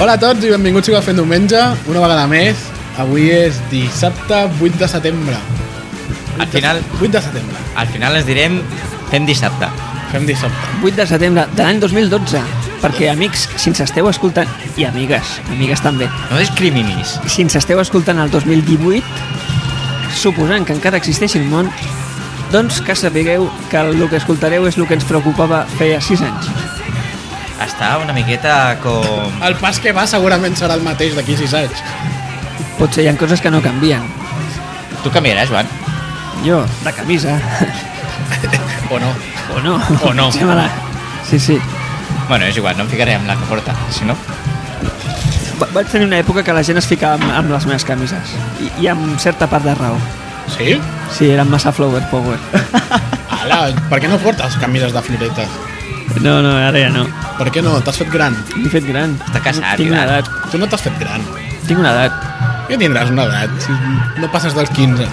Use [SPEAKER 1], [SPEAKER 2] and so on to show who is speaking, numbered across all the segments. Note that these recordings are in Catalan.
[SPEAKER 1] Hola a tots i benvinguts a Fent Diumenge, una vegada més. Avui és dissabte 8 de setembre.
[SPEAKER 2] Al final,
[SPEAKER 1] 8 de setembre.
[SPEAKER 2] al final les direm fem dissabte.
[SPEAKER 1] Fem dissabte.
[SPEAKER 3] 8 de setembre de l'any 2012 perquè amics, si ens esteu escoltant i amigues, amigues també
[SPEAKER 2] No discriminis.
[SPEAKER 3] si ens esteu escoltant el 2018 suposant que encara existeixi el món doncs que sapigueu que el que escoltareu és el que ens preocupava feia 6 anys
[SPEAKER 2] Està una miqueta com...
[SPEAKER 1] El pas que va segurament serà el mateix d'aquí 6 anys.
[SPEAKER 3] potser hi ha coses que no canvien
[SPEAKER 2] Tu canviaràs, Joan?
[SPEAKER 3] jo, de camisa
[SPEAKER 1] O no.
[SPEAKER 3] o no,
[SPEAKER 2] O no.
[SPEAKER 3] Potser me la- sí, sí
[SPEAKER 2] Bueno, és igual, no em ficaré amb la que porta, si no...
[SPEAKER 3] Va- vaig tenir una època que la gent es ficava amb, amb les meves camises I, i amb certa part de raó
[SPEAKER 1] Sí?
[SPEAKER 3] sí, eren massa flower power
[SPEAKER 1] Ala, per què no portes camises de floretes?
[SPEAKER 3] no, no, ara ja no
[SPEAKER 1] Per què no? T'has fet gran.
[SPEAKER 3] M'he fet gran.
[SPEAKER 2] Està casat,
[SPEAKER 3] Tinc una
[SPEAKER 2] Ivan.
[SPEAKER 3] edat.
[SPEAKER 1] Tu no t'has fet gran.
[SPEAKER 3] Tinc una edat.
[SPEAKER 1] Ja tindràs una edat. Si no passes dels 15.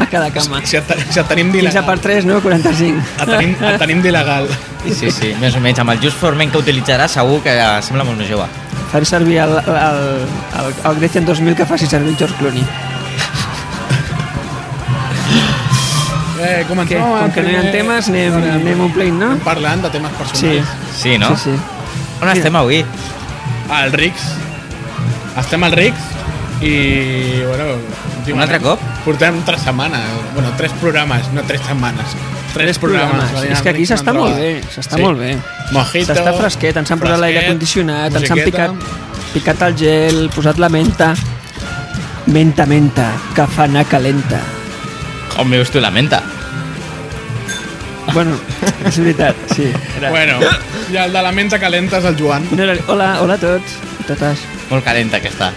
[SPEAKER 3] A cada cama.
[SPEAKER 1] Si et, si et tenim
[SPEAKER 3] 15 per
[SPEAKER 1] d'il·legal.
[SPEAKER 3] 3, no? 45.
[SPEAKER 1] Et tenim, et tenim d'il·legal.
[SPEAKER 2] Sí, sí, més o menys. Amb el just forment que utilitzarà segur que sembla molt més jove.
[SPEAKER 3] Faré servir el, el, el, el Grecian 2000 que faci servir el George Clooney.
[SPEAKER 1] Eh,
[SPEAKER 3] Què?
[SPEAKER 1] comencem. amb
[SPEAKER 3] Com
[SPEAKER 1] el
[SPEAKER 3] que no hi ha
[SPEAKER 1] primer-
[SPEAKER 3] temes, anem, anem omplint, no?
[SPEAKER 1] Anem parlant de temes
[SPEAKER 3] Sí.
[SPEAKER 1] personals.
[SPEAKER 2] Sí, no?
[SPEAKER 3] Sí, sí.
[SPEAKER 2] On estem avui?
[SPEAKER 1] al Rix. Estem al Rix i, bueno...
[SPEAKER 2] Un altre cop?
[SPEAKER 1] Portem tres setmanes, bueno, tres programes, no tres setmanes. Tres, programes.
[SPEAKER 3] programes. És que aquí s'està molt bé, s'està molt bé.
[SPEAKER 1] Mojito,
[SPEAKER 3] S'està fresquet, ens han posat
[SPEAKER 1] fresquet,
[SPEAKER 3] l'aire condicionat, ens han
[SPEAKER 1] musiqueta.
[SPEAKER 3] picat, picat el gel, posat la menta. Menta, menta, que fa anar calenta.
[SPEAKER 2] Com veus tu la menta?
[SPEAKER 3] Bueno, és veritat, sí. Era...
[SPEAKER 1] Bueno, i el de la menta calenta és el Joan.
[SPEAKER 3] No era- Hola, hola a tots i totes.
[SPEAKER 2] Molt calenta que està.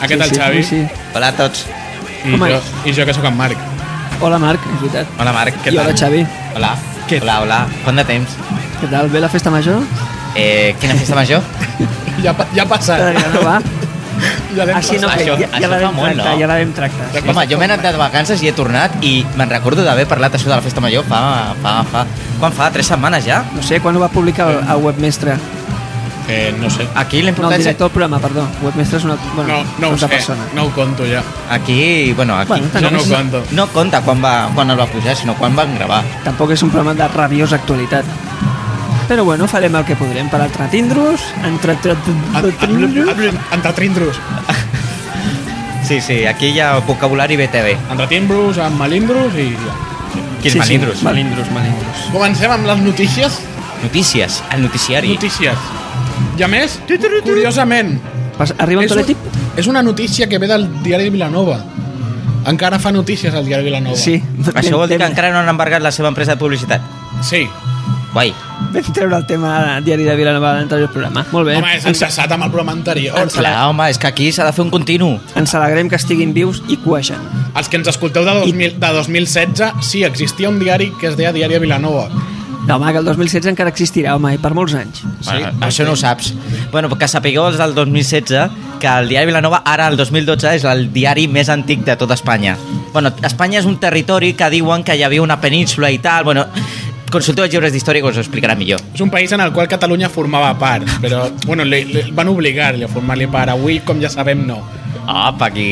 [SPEAKER 1] Aquest
[SPEAKER 3] sí,
[SPEAKER 1] el Ah, Xavi.
[SPEAKER 3] Sí, sí.
[SPEAKER 2] Hola a tots.
[SPEAKER 1] I,
[SPEAKER 3] Home.
[SPEAKER 1] jo, I jo que sóc en Marc.
[SPEAKER 3] Hola Marc, és veritat.
[SPEAKER 2] Hola, Marc.
[SPEAKER 3] I hola Xavi.
[SPEAKER 2] Hola.
[SPEAKER 1] Què
[SPEAKER 2] Hola, hola. Quant de temps?
[SPEAKER 3] Què tal? Bé la festa major?
[SPEAKER 2] Eh, quina festa major?
[SPEAKER 1] Ja, pa- ja ha passat.
[SPEAKER 3] Ja no va?
[SPEAKER 1] Ja l'hem
[SPEAKER 3] Així no,
[SPEAKER 1] passat.
[SPEAKER 3] que
[SPEAKER 2] això-
[SPEAKER 3] ja, ja
[SPEAKER 2] això
[SPEAKER 3] la
[SPEAKER 2] fa
[SPEAKER 3] vam
[SPEAKER 2] molt,
[SPEAKER 3] tractar,
[SPEAKER 2] no?
[SPEAKER 3] ja la vam tractar.
[SPEAKER 1] Ja
[SPEAKER 3] Sí.
[SPEAKER 2] Home, jo m'he anat de vacances i he tornat i me'n recordo d'haver parlat això de la festa major fa, fa, fa... Quan fa? Tres setmanes ja?
[SPEAKER 3] No sé, quan ho va publicar el, el webmestre?
[SPEAKER 1] Eh, no sé.
[SPEAKER 2] Aquí la
[SPEAKER 3] No, el
[SPEAKER 2] importància...
[SPEAKER 3] director del programa, perdó. Webmestre és una, bueno,
[SPEAKER 1] No, no ho
[SPEAKER 3] una
[SPEAKER 1] sé.
[SPEAKER 3] altra persona.
[SPEAKER 1] No ho conto ja.
[SPEAKER 2] Aquí, bueno, aquí...
[SPEAKER 3] Bueno,
[SPEAKER 1] Jo no ho
[SPEAKER 3] tampoc, és,
[SPEAKER 1] conto.
[SPEAKER 2] No compta quan, va, quan el va pujar, sinó quan van gravar.
[SPEAKER 3] tampoc és un programa de rabiosa actualitat. Però bueno, farem el que podrem per entretindros, entretindros...
[SPEAKER 1] Entretrindros.
[SPEAKER 2] Sí, sí, aquí hi ha vocabulari BTV.
[SPEAKER 1] Entretimbros, amb malindros i ja.
[SPEAKER 2] Quins
[SPEAKER 3] Sí, sí,
[SPEAKER 2] malindros.
[SPEAKER 3] malindros, malindros.
[SPEAKER 1] Comencem amb les notícies.
[SPEAKER 2] Notícies, el noticiari.
[SPEAKER 1] Notícies. I a més, curiosament,
[SPEAKER 3] Pas, arriba un
[SPEAKER 1] és,
[SPEAKER 3] teletip?
[SPEAKER 1] un, és una notícia que ve del diari Vilanova. Encara fa notícies al diari Vilanova.
[SPEAKER 3] Sí.
[SPEAKER 2] Això vol dir que
[SPEAKER 3] Vam-
[SPEAKER 2] encara no han embargat la seva empresa de publicitat.
[SPEAKER 1] Sí.
[SPEAKER 2] Guai.
[SPEAKER 3] Vam treure el tema de diari de Vilanova de l'anterior programa. Molt bé. Ah,
[SPEAKER 1] Home, és encessat amb el programa anterior.
[SPEAKER 3] Ens-
[SPEAKER 2] Clar, home, és que aquí s'ha de fer un continu.
[SPEAKER 3] Ens alegrem que estiguin vius i cuegen.
[SPEAKER 1] Els que ens escolteu de, 2000, de 2016, sí, existia un diari que es deia Diari Vilanova.
[SPEAKER 3] No, home, que el 2016 encara existirà, home, i per molts anys.
[SPEAKER 1] Sí,
[SPEAKER 2] Bueno, això no ho saps. Bueno, que sapigueu els del 2016 que el diari Vilanova, ara el 2012, és el diari més antic de tota Espanya. Bueno, Espanya és un territori que diuen que hi havia una península i tal. Bueno, consulteu els llibres d'història que us ho explicarà millor.
[SPEAKER 1] És un país en el qual Catalunya formava part, però, bueno, li, li van obligar-li a formar-li part. Avui, com ja sabem, no.
[SPEAKER 2] Apa, aquí...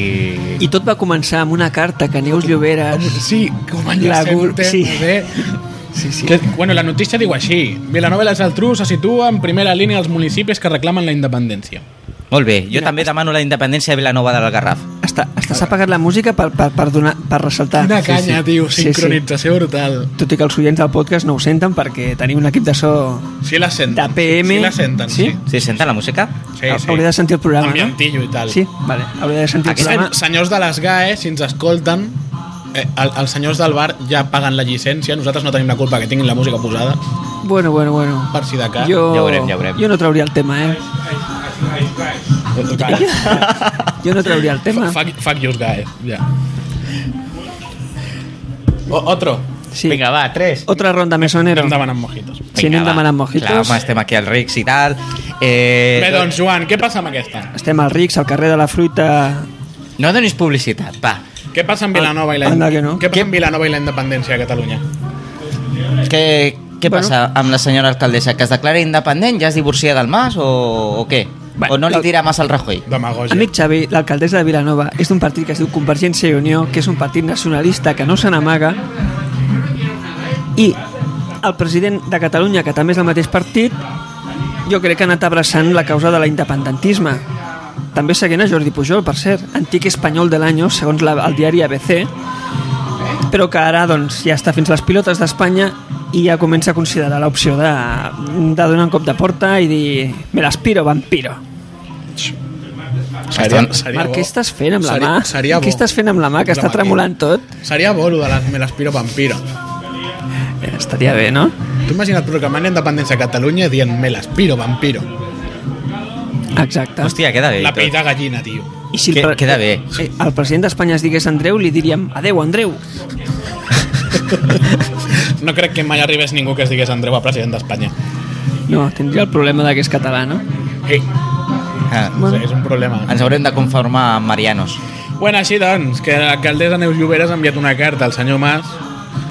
[SPEAKER 3] I tot va començar amb una carta que Neus Lloberes...
[SPEAKER 1] Sí, com a
[SPEAKER 3] La gur- sí.
[SPEAKER 1] sí.
[SPEAKER 3] Sí, sí.
[SPEAKER 1] Que, bueno, la notícia diu així. Vilanova i la Geltrú se situa en primera línia als municipis que reclamen la independència.
[SPEAKER 2] Molt bé, jo
[SPEAKER 3] Mira,
[SPEAKER 2] també demano la independència de Vilanova del Garraf.
[SPEAKER 3] Està, està s'ha apagat la música per, per, per, donar, per ressaltar.
[SPEAKER 1] Quina canya, tio.
[SPEAKER 3] Sí, sí.
[SPEAKER 1] Sincronització brutal.
[SPEAKER 3] Tot i que els oients del podcast no ho senten perquè tenim un equip de so...
[SPEAKER 1] Sí la senten.
[SPEAKER 3] De PM.
[SPEAKER 1] Sí la senten, sí.
[SPEAKER 3] Sí?
[SPEAKER 2] Sí, senten la música?
[SPEAKER 1] Sí,
[SPEAKER 3] Ha-
[SPEAKER 1] sí.
[SPEAKER 3] Hauré de sentir el programa,
[SPEAKER 1] Ambientillo i tal.
[SPEAKER 3] no? Sí, vale. Hauré de sentir el
[SPEAKER 1] Aquests
[SPEAKER 3] programa.
[SPEAKER 1] sen- senyors de les GAE, si ens escolten, eh, el, els senyors del bar ja paguen la llicència, nosaltres no tenim la culpa que tinguin la música posada,
[SPEAKER 3] Bueno, bueno, bueno.
[SPEAKER 1] per si de cas.
[SPEAKER 3] Jo,
[SPEAKER 2] Ja ho veurem, ja ho veurem.
[SPEAKER 3] jo no trauria el tema, eh?
[SPEAKER 1] Total.
[SPEAKER 3] Jo no trauria el tema.
[SPEAKER 1] Fuck, fuck yous, GAE. Ja. O, otro.
[SPEAKER 3] Sí.
[SPEAKER 2] Vinga, va, tres.
[SPEAKER 3] Otra ronda mesonero.
[SPEAKER 1] Anem demanant mojitos.
[SPEAKER 3] Si anem demanant mojitos.
[SPEAKER 2] Clar, home, estem aquí al Rix i tal. Eh,
[SPEAKER 1] Bé, doncs, Joan, què passa amb aquesta?
[SPEAKER 3] Estem al Rix, al carrer de la Fruita...
[SPEAKER 2] No donis publicitat, va.
[SPEAKER 1] Què passa amb Vilanova i la,
[SPEAKER 3] Ah, Anda que no.
[SPEAKER 1] què passa amb Vilanova i la independència a Catalunya?
[SPEAKER 2] Què, què
[SPEAKER 3] Bueno.
[SPEAKER 2] passa amb la senyora alcaldessa? Que es declara independent? Ja es divorcia del Mas o, o què? O no li tira massa al Rajoy?
[SPEAKER 1] Demagogia.
[SPEAKER 3] Amic Xavi, l'alcaldessa de Vilanova, és d'un partit que es diu Convergència i Unió, que és un partit nacionalista que no se n'amaga, i el president de Catalunya, que també és el mateix partit, jo crec que ha anat abraçant la causa de l'independentisme. També seguint a Jordi Pujol, per cert, antic espanyol de l'any, segons la, el diari ABC, però que ara doncs, ja està fins a les pilotes d'Espanya i ja comença a considerar l'opció de, de donar un cop de porta i dir me l'aspiro, vampiro.
[SPEAKER 1] Seria, seria
[SPEAKER 3] Marc,
[SPEAKER 1] bo.
[SPEAKER 3] què estàs fent amb la
[SPEAKER 1] Seria-
[SPEAKER 3] mà?
[SPEAKER 1] Seria bo.
[SPEAKER 3] què estàs fent amb la mà, que està
[SPEAKER 1] màquina.
[SPEAKER 3] tremolant tot?
[SPEAKER 1] Seria bo, lo de la, me l'aspiro vampiro.
[SPEAKER 3] Eh, Estaria bé, no?
[SPEAKER 1] Tu imagina't proclamant la independència a Catalunya dient me l'aspiro vampiro.
[SPEAKER 3] Exacte.
[SPEAKER 2] Hòstia, queda bé. i
[SPEAKER 1] La
[SPEAKER 2] tot.
[SPEAKER 1] pell de gallina, tio.
[SPEAKER 3] I
[SPEAKER 2] que-
[SPEAKER 3] pre-
[SPEAKER 2] queda bé.
[SPEAKER 3] Eh, El president d'Espanya es digués Andreu, li diríem adeu, Andreu.
[SPEAKER 1] No crec que mai arribés ningú que es digués Andreu a president d'Espanya.
[SPEAKER 3] No, tindria el problema de que és català, no?
[SPEAKER 1] Ei,
[SPEAKER 2] Ah,
[SPEAKER 1] bueno. és un problema.
[SPEAKER 2] ens haurem de conformar amb Marianos.
[SPEAKER 1] Bueno, així doncs, que l'alcaldessa Neus Lloberes ha enviat una carta al senyor Mas,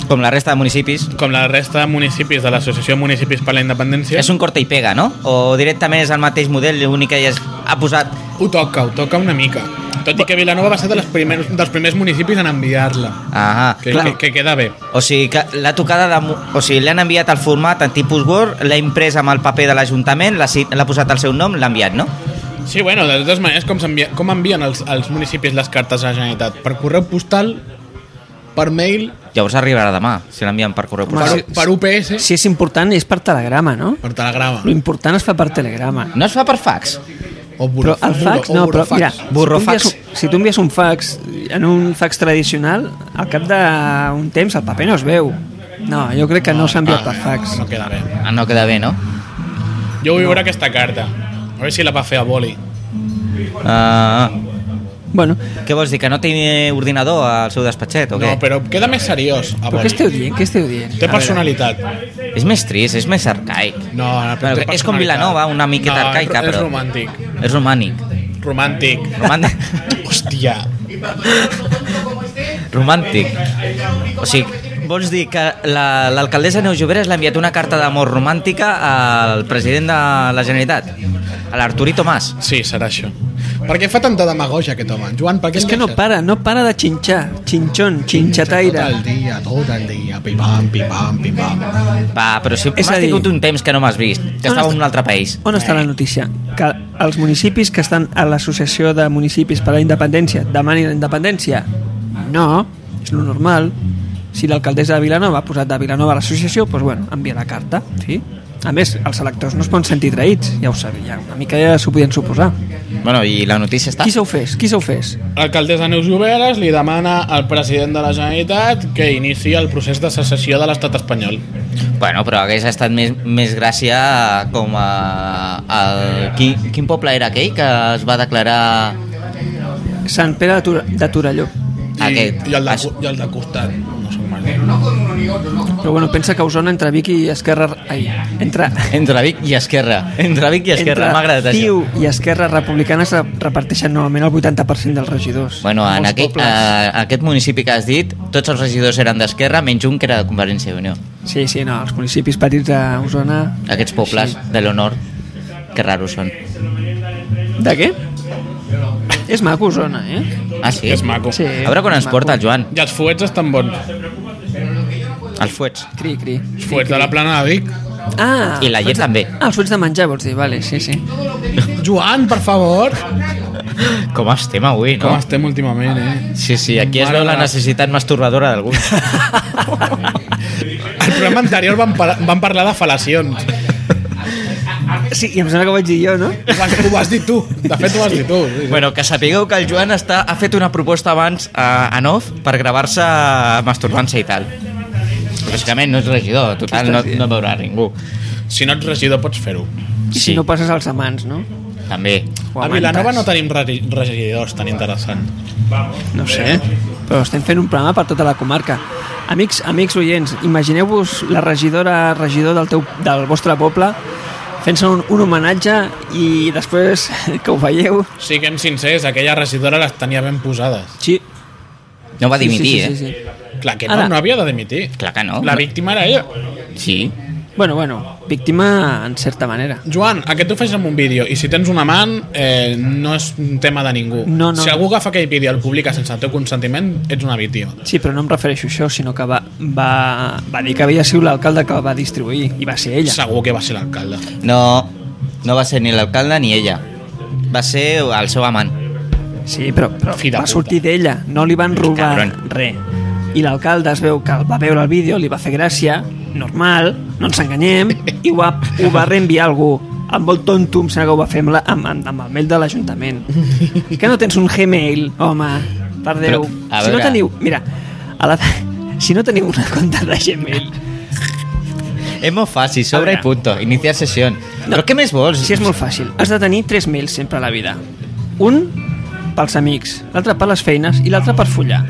[SPEAKER 2] Com la resta de municipis.
[SPEAKER 1] com la resta de municipis de l'Associació de Municipis per la Independència.
[SPEAKER 2] És un corte i pega, no? O directament és el mateix model, l'únic que ja es- ha posat...
[SPEAKER 1] Ho toca, ho toca una mica. Tot i que Vilanova va ser de les primers, dels primers municipis en enviar-la.
[SPEAKER 2] Ah,
[SPEAKER 1] Que,
[SPEAKER 2] clar.
[SPEAKER 1] que, que queda bé.
[SPEAKER 2] O sigui, que l'ha tocada de... mu- O sigui, l'han enviat al format en tipus Word, l'ha imprès amb el paper de l'Ajuntament, l'ha si- l'ha posat el seu nom, l'ha enviat, no?
[SPEAKER 1] Sí, bueno, de totes maneres, com, s'envia- com envien els, els municipis les cartes a la Generalitat? Per correu postal, per mail,
[SPEAKER 2] Llavors arribarà demà, si l'envien per correu
[SPEAKER 1] per,
[SPEAKER 2] postal.
[SPEAKER 3] sí.
[SPEAKER 1] per UPS,
[SPEAKER 3] Si és important és per telegrama, no?
[SPEAKER 1] per telegrama.
[SPEAKER 3] Lo important es fa per telegrama.
[SPEAKER 2] No es fa per fax?
[SPEAKER 1] O
[SPEAKER 3] Però
[SPEAKER 1] buro,
[SPEAKER 3] el fax,
[SPEAKER 1] o
[SPEAKER 3] no, però
[SPEAKER 1] burofax.
[SPEAKER 3] mira,
[SPEAKER 2] Burrofax.
[SPEAKER 3] Si tu, envies, un- si tu envies un fax en un fax tradicional, al cap d'un temps el paper no es veu. No, jo crec
[SPEAKER 1] Ah,
[SPEAKER 3] que no s'ha enviat per fax.
[SPEAKER 1] No queda res.
[SPEAKER 2] Ah, no queda bé, no?
[SPEAKER 1] Jo vull veure aquesta carta. A veure si la va fer a boli.
[SPEAKER 2] Ah,
[SPEAKER 3] Bueno,
[SPEAKER 2] què vols dir, que no té ordinador al seu despatxet o què?
[SPEAKER 1] No, però queda més seriós. A
[SPEAKER 3] però
[SPEAKER 1] boli.
[SPEAKER 3] què esteu dient? Què esteu dient?
[SPEAKER 1] Ah, Té personalitat.
[SPEAKER 2] És més trist, és més arcaic.
[SPEAKER 1] No, no, però té
[SPEAKER 2] Bueno, és com
[SPEAKER 1] personalitat.
[SPEAKER 2] Vilanova, una miqueta
[SPEAKER 1] no,
[SPEAKER 2] arcaica,
[SPEAKER 1] és,
[SPEAKER 2] però-
[SPEAKER 1] És romàntic.
[SPEAKER 2] És romànic.
[SPEAKER 1] Romàntic.
[SPEAKER 2] Romàntic.
[SPEAKER 1] Hòstia.
[SPEAKER 2] romàntic. O sigui, vols dir que la- l'alcaldessa la, Neus Lloberes l'ha enviat una carta d'amor romàntica al president de la Generalitat, a l'Arturito Mas.
[SPEAKER 1] Sí, serà això. Per què fa tanta demagogia aquest home? Joan, per què
[SPEAKER 3] És que no
[SPEAKER 1] enganxes?
[SPEAKER 3] para, no para de xinxar. Xinxon, xinxataire.
[SPEAKER 1] Tot el dia, tot el dia, pipam, pipam, pipam.
[SPEAKER 2] Va, però si
[SPEAKER 3] És
[SPEAKER 2] m'has
[SPEAKER 3] a dir-
[SPEAKER 2] tingut un temps que no m'has vist, que
[SPEAKER 3] On
[SPEAKER 2] estava en
[SPEAKER 3] està-
[SPEAKER 2] un altre país.
[SPEAKER 3] On està la notícia? Que els municipis que estan a l'Associació de Municipis per a la Independència demanin la independència? No, és lo normal. Si l'alcaldessa de Vilanova ha posat de Vilanova a l'associació, doncs bueno, envia la carta, sí? A més, els electors no es poden sentir traïts, ja ho sabia, una mica ja s'ho podien suposar.
[SPEAKER 2] Bueno, i la notícia està...
[SPEAKER 3] Qui se ho fes? Qui se ho fes?
[SPEAKER 1] L'alcaldessa Neus Lloberes li demana al president de la Generalitat que inici el procés de secessió de l'estat espanyol.
[SPEAKER 2] Bueno, però hagués estat més, més gràcia eh, com a... El, quin, quin poble era aquell que es va declarar...
[SPEAKER 3] Sant Pere de, Tor de Torelló.
[SPEAKER 1] I,
[SPEAKER 2] Aquest.
[SPEAKER 1] i, el, de,
[SPEAKER 2] Això.
[SPEAKER 1] cu- i el de costat. No sé com es diu.
[SPEAKER 3] Però bueno, pensa que Osona entre Vic i Esquerra... Ai, entre,
[SPEAKER 2] Entre Vic i Esquerra. Entre Vic i Esquerra, m'ha agradat
[SPEAKER 3] Entre
[SPEAKER 2] això.
[SPEAKER 3] CiU i Esquerra Republicana es reparteixen normalment el 80% dels regidors.
[SPEAKER 2] Bueno, en
[SPEAKER 1] Molts
[SPEAKER 2] aquell, eh,
[SPEAKER 1] pobles.
[SPEAKER 2] a, aquest municipi que has dit, tots els regidors eren d'Esquerra, menys un que era de Convergència i Unió.
[SPEAKER 3] Sí, sí, no, els municipis petits d'Osona...
[SPEAKER 2] Aquests pobles
[SPEAKER 3] Sí.
[SPEAKER 2] de l'honor, que raros són.
[SPEAKER 3] De què? És maco Osona, eh?
[SPEAKER 2] Ah, sí?
[SPEAKER 1] És maco.
[SPEAKER 3] Sí.
[SPEAKER 2] A veure quan ens
[SPEAKER 3] Maco.
[SPEAKER 2] porta el Joan,
[SPEAKER 1] I els fuets estan bons.
[SPEAKER 2] els fuets.
[SPEAKER 3] Cri, cri.
[SPEAKER 1] Els fuets de la plana de Vic.
[SPEAKER 3] Ah,
[SPEAKER 2] I la llet també,
[SPEAKER 3] Ah, els ulls de menjar, vols dir, vale, sí, sí.
[SPEAKER 1] Joan, per favor!
[SPEAKER 2] com estem avui,
[SPEAKER 1] Com
[SPEAKER 2] no?
[SPEAKER 1] estem últimament, eh?
[SPEAKER 2] Sí, sí, aquí es
[SPEAKER 1] Mare
[SPEAKER 2] veu la
[SPEAKER 1] de-
[SPEAKER 2] necessitat masturbadora d'algú.
[SPEAKER 1] Al programa anterior vam, par vam parlar de fal·lacions.
[SPEAKER 3] Sí, i em sembla que ho vaig dir jo, no?
[SPEAKER 1] Ho vas, ho vas dir tu. De fet, ho vas dir tu. Sí, sí.
[SPEAKER 2] Bueno, que sapigueu que el Joan està, ha fet una proposta abans a, a Nof per gravar-se masturbant-se i tal. Lògicament no és regidor, total, no, no veurà ningú.
[SPEAKER 1] Si no ets regidor, pots fer-ho.
[SPEAKER 3] I si no passes als amants, no?
[SPEAKER 2] també.
[SPEAKER 3] O
[SPEAKER 1] A
[SPEAKER 3] amantes.
[SPEAKER 1] Vilanova no tenim re- regidors tan interessant.
[SPEAKER 3] No sé,
[SPEAKER 2] Eh?
[SPEAKER 3] però estem fent un programa per tota la comarca. Amics, amics oients, imagineu-vos la regidora, regidor del, teu, del vostre poble fent-se un, un homenatge i després que ho veieu...
[SPEAKER 1] Siguem sincers, aquella regidora les tenia ben posades.
[SPEAKER 3] Sí,
[SPEAKER 2] No va dimitir,
[SPEAKER 3] sí, sí, sí,
[SPEAKER 2] eh?
[SPEAKER 3] sí.
[SPEAKER 1] Clar que no,
[SPEAKER 3] Ara.
[SPEAKER 1] no havia de dimitir.
[SPEAKER 2] Clar que no.
[SPEAKER 1] La víctima era ella.
[SPEAKER 2] Sí.
[SPEAKER 3] Bueno, bueno, víctima en certa manera.
[SPEAKER 1] Joan, aquest ho facis amb un vídeo i si tens un amant eh, no és un tema de ningú.
[SPEAKER 3] No, no.
[SPEAKER 1] Si algú agafa aquell vídeo i el publica sense el teu consentiment, ets una víctima.
[SPEAKER 3] Sí, però no em refereixo a això, sinó que va, va, va dir que havia sigut l'alcalde que el va distribuir i va ser ella.
[SPEAKER 1] Segur que va ser l'alcalde.
[SPEAKER 2] No, no va ser ni l'alcalde ni ella. Va ser el seu amant.
[SPEAKER 3] Sí, però, però
[SPEAKER 1] Fi de
[SPEAKER 3] va
[SPEAKER 1] puta.
[SPEAKER 3] sortir d'ella, no li van robar
[SPEAKER 2] Cabron.
[SPEAKER 3] res. I l'alcalde es veu que el va veure el vídeo, li va fer gràcia, normal, no ens enganyem, i ho va, ho va reenviar a algú. Amb el tonto, em sembla que ho va fer amb, la, amb, amb, amb el mail de l'Ajuntament. Que no tens un Gmail, home, per Déu.
[SPEAKER 2] Però, a
[SPEAKER 3] si no
[SPEAKER 2] veure.
[SPEAKER 3] teniu... Mira, a la, si no teniu una compte de Gmail,
[SPEAKER 2] És molt fàcil,
[SPEAKER 3] A
[SPEAKER 2] sobre
[SPEAKER 3] veure.
[SPEAKER 2] i punto. Iniciar sessió.
[SPEAKER 3] No.
[SPEAKER 2] No. Però què més vols?
[SPEAKER 3] si és molt fàcil, has de tenir tres mails sempre a la vida. Un pels amics, l'altre per les feines i l'altre per follar.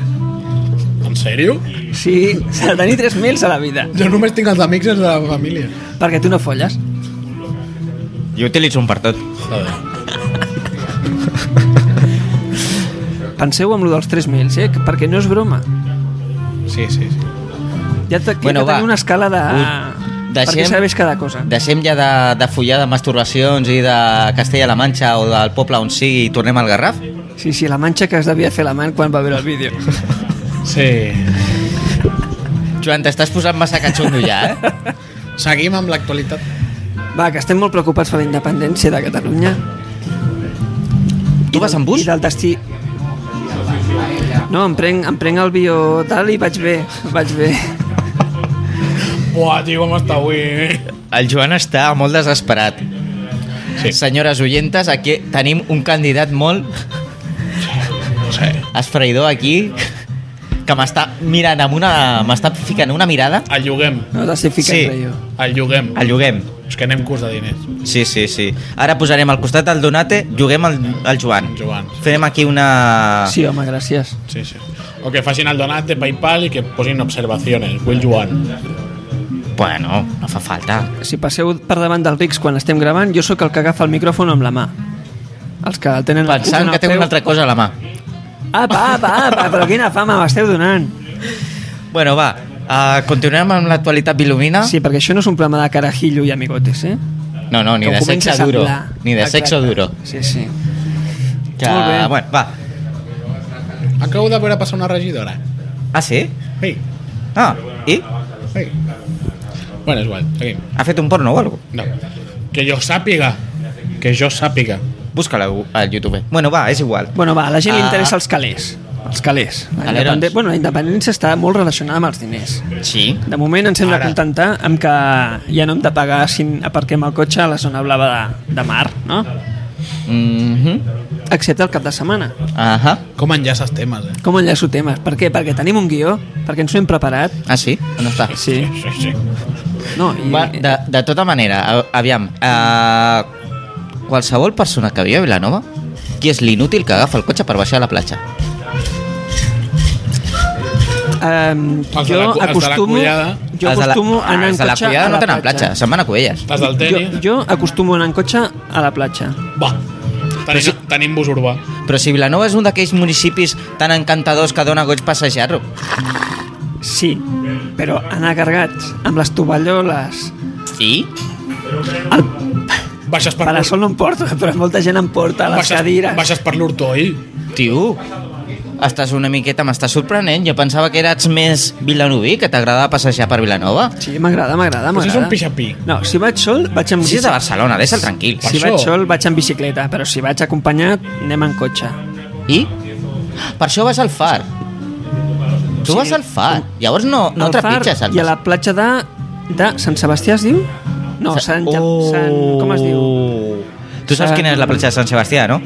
[SPEAKER 1] En sèrio?
[SPEAKER 3] Sí, s'ha de tenir tres mails a la vida.
[SPEAKER 1] Jo només tinc els amics i els de la família.
[SPEAKER 3] Perquè tu no folles.
[SPEAKER 2] Jo utilitzo un per tot.
[SPEAKER 1] Joder.
[SPEAKER 3] Penseu amb lo dels tres mails, eh? que- Perquè no és broma.
[SPEAKER 1] Sí, sí, sí.
[SPEAKER 3] Ja te,
[SPEAKER 2] Bueno,
[SPEAKER 3] bueno, ja
[SPEAKER 2] va.
[SPEAKER 3] tenir una escala de...
[SPEAKER 2] Us
[SPEAKER 3] Deixem...
[SPEAKER 2] deixem-
[SPEAKER 3] Perquè sabés cada cosa.
[SPEAKER 2] Deixem ja de, de follar de masturbacions i de Castella-La Manxa o del poble on sigui i tornem al Garraf?
[SPEAKER 3] Sí, sí, la manxa que es devia fer la man quan va veure el vídeo.
[SPEAKER 1] Sí.
[SPEAKER 2] Joan, t'estàs posant massa catxondo ja, eh?
[SPEAKER 1] Seguim amb l'actualitat.
[SPEAKER 3] Va, que estem molt preocupats per la independència de Catalunya.
[SPEAKER 2] Tu vas
[SPEAKER 3] del-
[SPEAKER 2] en bus?
[SPEAKER 3] I del destí... No, em prenc, em prenc el bio tal i vaig bé, vaig bé.
[SPEAKER 1] Buah, tio, com està avui, eh?
[SPEAKER 2] El Joan està molt desesperat.
[SPEAKER 1] Sí.
[SPEAKER 2] Senyores oyentes, aquí tenim un candidat molt
[SPEAKER 1] No sé.
[SPEAKER 2] esfraïdor aquí que m'està mirant amb una... m'està ficant una mirada.
[SPEAKER 1] El lloguem.
[SPEAKER 3] No t'estic ficant
[SPEAKER 2] Sí.
[SPEAKER 3] sí. jo.
[SPEAKER 1] El lloguem.
[SPEAKER 2] El lloguem.
[SPEAKER 1] És que anem curs de diners,
[SPEAKER 2] Sí, sí, sí. Ara posarem al costat del Donate, juguem al, al Joan.
[SPEAKER 1] Joan.
[SPEAKER 2] Fem aquí una...
[SPEAKER 3] Sí, home, gràcies.
[SPEAKER 1] Sí, sí. O que facin el donat de Paypal i que posin observaciones. Will Joan.
[SPEAKER 2] Bueno, no fa falta.
[SPEAKER 3] Si passeu per davant dels rics quan estem gravant, jo sóc el que agafa el micròfon amb la mà. Els que el tenen...
[SPEAKER 2] Pensant que té una altra cosa a la mà.
[SPEAKER 3] Apa, apa, apa, però quina fama m'esteu donant.
[SPEAKER 2] Bueno, va, uh, continuem amb l'actualitat bilumina?
[SPEAKER 3] Sí, perquè això no és un programa de carajillo i amigotes, eh?
[SPEAKER 2] No, no, ni
[SPEAKER 3] Que ho
[SPEAKER 2] de
[SPEAKER 3] comença
[SPEAKER 2] sexe
[SPEAKER 3] a
[SPEAKER 2] duro.
[SPEAKER 3] semblar.
[SPEAKER 2] Ni de
[SPEAKER 3] Exacte.
[SPEAKER 2] sexe duro.
[SPEAKER 3] Sí, sí.
[SPEAKER 2] Que,
[SPEAKER 3] Molt bé.
[SPEAKER 2] bueno, va.
[SPEAKER 1] Acabo de veure passar una regidora.
[SPEAKER 2] Ah, sí?
[SPEAKER 1] Sí,
[SPEAKER 2] Ah, i?
[SPEAKER 1] sí. Bueno, és igual. Seguim.
[SPEAKER 2] Ha fet un porno o algo?
[SPEAKER 1] No. Que jo sàpiga. Que jo sàpiga.
[SPEAKER 2] Busca-la al YouTube. Bueno, va, és igual.
[SPEAKER 3] Bueno, va, a la gent li
[SPEAKER 2] Ah.
[SPEAKER 3] interessa els calés. Els calés. La,
[SPEAKER 2] Calerons.
[SPEAKER 3] independe... bueno, la independència està molt relacionada amb els diners.
[SPEAKER 2] Sí.
[SPEAKER 3] De moment ens hem de
[SPEAKER 1] Ara.
[SPEAKER 3] contentar amb que ja no hem de pagar si aparquem el cotxe a la zona blava de, de mar, no?
[SPEAKER 2] Mhm.
[SPEAKER 3] Excepte el cap de setmana.
[SPEAKER 2] Ahà.
[SPEAKER 1] Com enllaces temes, eh?
[SPEAKER 3] Com enllaço temes? Per què? Perquè tenim un guió, perquè ens ho hem preparat.
[SPEAKER 2] Ah, sí? On està?
[SPEAKER 3] Sí.
[SPEAKER 1] Sí, sí.
[SPEAKER 3] No, i...
[SPEAKER 2] Va, de, de tota manera, a- aviam, uh, qualsevol persona que viu a Vilanova, qui és l'inútil que agafa el cotxe per baixar a la platja?
[SPEAKER 3] Um,
[SPEAKER 1] Els de la
[SPEAKER 3] jo
[SPEAKER 1] cu- els de la
[SPEAKER 3] acostumo,
[SPEAKER 1] collada.
[SPEAKER 3] jo
[SPEAKER 2] Els de la-
[SPEAKER 3] acostumo a anar en
[SPEAKER 2] els de la
[SPEAKER 3] cotxe
[SPEAKER 2] Collada
[SPEAKER 3] a la
[SPEAKER 2] no tenen platja,
[SPEAKER 3] platja.
[SPEAKER 2] se'n van a Covelles.
[SPEAKER 1] Les del
[SPEAKER 3] Jo,
[SPEAKER 1] tenis.
[SPEAKER 3] jo acostumo a anar en cotxe a la platja.
[SPEAKER 1] Va. Tenim, tenim bus urbà.
[SPEAKER 2] Però si Vilanova és un d'aquells municipis tan encantadors que dona goig passejar-ho.
[SPEAKER 3] Sí, però anar carregats amb les tovalloles...
[SPEAKER 2] I?
[SPEAKER 3] El
[SPEAKER 1] Baixes per
[SPEAKER 3] parasol no em porto, però molta gent em porta les
[SPEAKER 1] baixes,
[SPEAKER 3] cadires.
[SPEAKER 1] baixes per l'ortoll.
[SPEAKER 2] Tio, estàs una miqueta, m'estàs sorprenent. Jo pensava que eres més vilanoví, que t'agradava passejar per Vilanova.
[SPEAKER 3] Sí, m'agrada, m'agrada,
[SPEAKER 1] Però si és
[SPEAKER 3] m'agrada.
[SPEAKER 1] un pixapí.
[SPEAKER 3] No, si vaig sol, vaig amb...
[SPEAKER 2] Si és de Barcelona, deixa'l tranquil.
[SPEAKER 1] Per
[SPEAKER 3] Si
[SPEAKER 1] això.
[SPEAKER 3] vaig sol, vaig amb bicicleta, però si vaig acompanyat, anem en cotxe.
[SPEAKER 2] I? Per això vas al far. Tu vas al far. Llavors no, no
[SPEAKER 3] Al Far
[SPEAKER 2] trepitges el
[SPEAKER 3] I a la platja de... de Sant Sebastià es diu? No, Sant... Ja- Sant com es diu?
[SPEAKER 2] Oh. Tu saps
[SPEAKER 3] Sant-
[SPEAKER 2] quina és la platja de Sant Sebastià, no?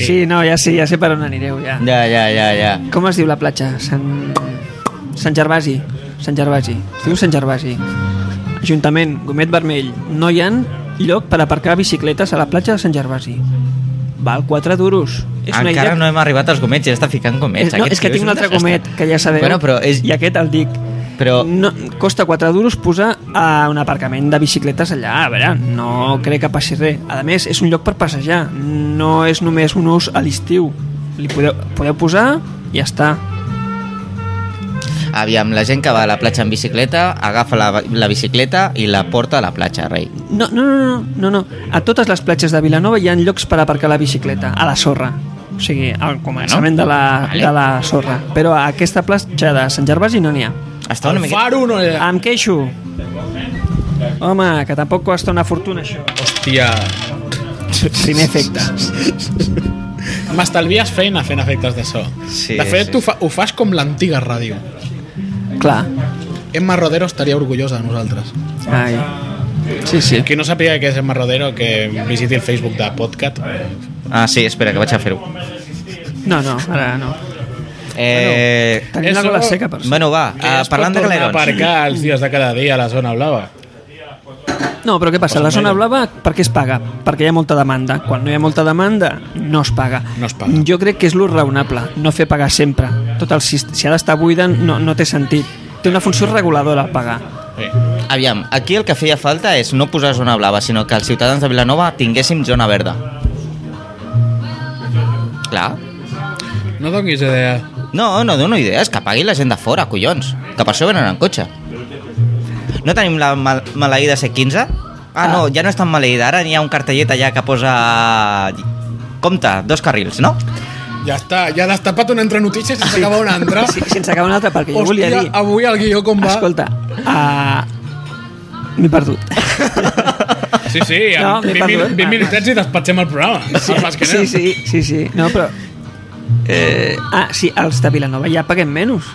[SPEAKER 3] Sí, no, ja sé, ja sé per on anireu, ja.
[SPEAKER 2] Ja, ja, ja, ja.
[SPEAKER 3] Com es diu la platja? Sant... Sant Gervasi. Sant Gervasi. Es diu Sant Gervasi. Ajuntament, Gomet Vermell. No hi ha lloc per aparcar bicicletes a la platja de Sant Gervasi. Val 4 duros. És una
[SPEAKER 2] Encara
[SPEAKER 3] idea...
[SPEAKER 2] no hem arribat als gomets i ja està ficant gomets.
[SPEAKER 3] és, no,
[SPEAKER 2] Aquest
[SPEAKER 3] és que
[SPEAKER 2] tio
[SPEAKER 3] tinc un altre
[SPEAKER 2] desastre.
[SPEAKER 3] gomet, que ja sabeu,
[SPEAKER 2] Bueno, però és-
[SPEAKER 3] i aquest el dic.
[SPEAKER 2] Però-
[SPEAKER 3] No, costa 4 duros posar a un aparcament de bicicletes allà, a veure, no crec que passi res. A més, és un lloc per passejar, no és només un ús a l'estiu. Li podeu, podeu posar i ja està.
[SPEAKER 2] Aviam, la gent que va a la platja en bicicleta agafa la, la bicicleta i la porta a la platja, rei.
[SPEAKER 3] No, no, no, no, no, no. A totes les platges de Vilanova hi ha llocs per aparcar la bicicleta, a la sorra. O sigui, al començament de la,
[SPEAKER 2] Vale.
[SPEAKER 3] de la sorra. Però a aquesta platja de Sant Gervasi no n'hi ha.
[SPEAKER 2] Està una
[SPEAKER 1] El
[SPEAKER 2] miqueta...
[SPEAKER 1] faro no era...
[SPEAKER 3] Em queixo. Home, que tampoc costa una fortuna, això.
[SPEAKER 1] Hòstia...
[SPEAKER 3] Primer efecte.
[SPEAKER 1] M'estalvies feina fent efectes de so.
[SPEAKER 2] Sí,
[SPEAKER 1] de fet,
[SPEAKER 2] sí,
[SPEAKER 1] ho, fa, ho fas com l'antiga ràdio.
[SPEAKER 3] Clar.
[SPEAKER 1] Emma Rodero estaria orgullosa de nosaltres.
[SPEAKER 3] Ai. Sí, sí.
[SPEAKER 1] Qui no sàpiga què és Emma Rodero, que visiti el Facebook de Podcast.
[SPEAKER 2] Ah, sí, espera, que vaig a fer-ho.
[SPEAKER 3] No, no, ara no.
[SPEAKER 2] Eh...
[SPEAKER 3] Tenim la
[SPEAKER 1] Eso-
[SPEAKER 3] gola seca, per
[SPEAKER 2] Bueno, va,
[SPEAKER 1] Que
[SPEAKER 2] uh,
[SPEAKER 1] es pot
[SPEAKER 2] parlant de
[SPEAKER 1] tornar a
[SPEAKER 2] galerons.
[SPEAKER 1] aparcar els dies de cada dia a la zona blava.
[SPEAKER 3] No, però què passa? La zona blava per què es paga? Perquè hi ha molta demanda. Quan no hi ha molta demanda, no es paga.
[SPEAKER 1] No es paga.
[SPEAKER 3] Jo crec que és l'ús raonable, no fer pagar sempre. Tot el, sist- si ha d'estar buida, no, no té sentit. Té una funció reguladora pagar.
[SPEAKER 1] Sí.
[SPEAKER 2] Aviam, aquí el que feia falta és no posar zona blava, sinó que els ciutadans de Vilanova tinguéssim zona verda. Clar.
[SPEAKER 1] No donis idea.
[SPEAKER 2] No, no dono idees, que pagui la gent de fora, collons. Que per això venen en cotxe. No tenim la mal maleïda C15? Ah, no, ja no és tan maleïda. Ara n'hi ha un cartellet allà que posa... Compte, dos carrils, no?
[SPEAKER 1] Ja està, ja has tapat una entre notícies i s'acaba una altra.
[SPEAKER 3] Sí, sense acabar una altra, perquè jo volia dir...
[SPEAKER 1] avui el guió com va?
[SPEAKER 3] Escolta, a... m'he perdut.
[SPEAKER 1] Sí, sí,
[SPEAKER 3] No,
[SPEAKER 1] no,
[SPEAKER 3] m'he
[SPEAKER 1] 20,
[SPEAKER 3] perdut.
[SPEAKER 1] 20 minutets i despatxem el programa.
[SPEAKER 3] Sí,
[SPEAKER 1] El basquenet.
[SPEAKER 3] sí, sí, sí, sí. No, però... Eh... Ah, sí, els de Vilanova ja paguem menys.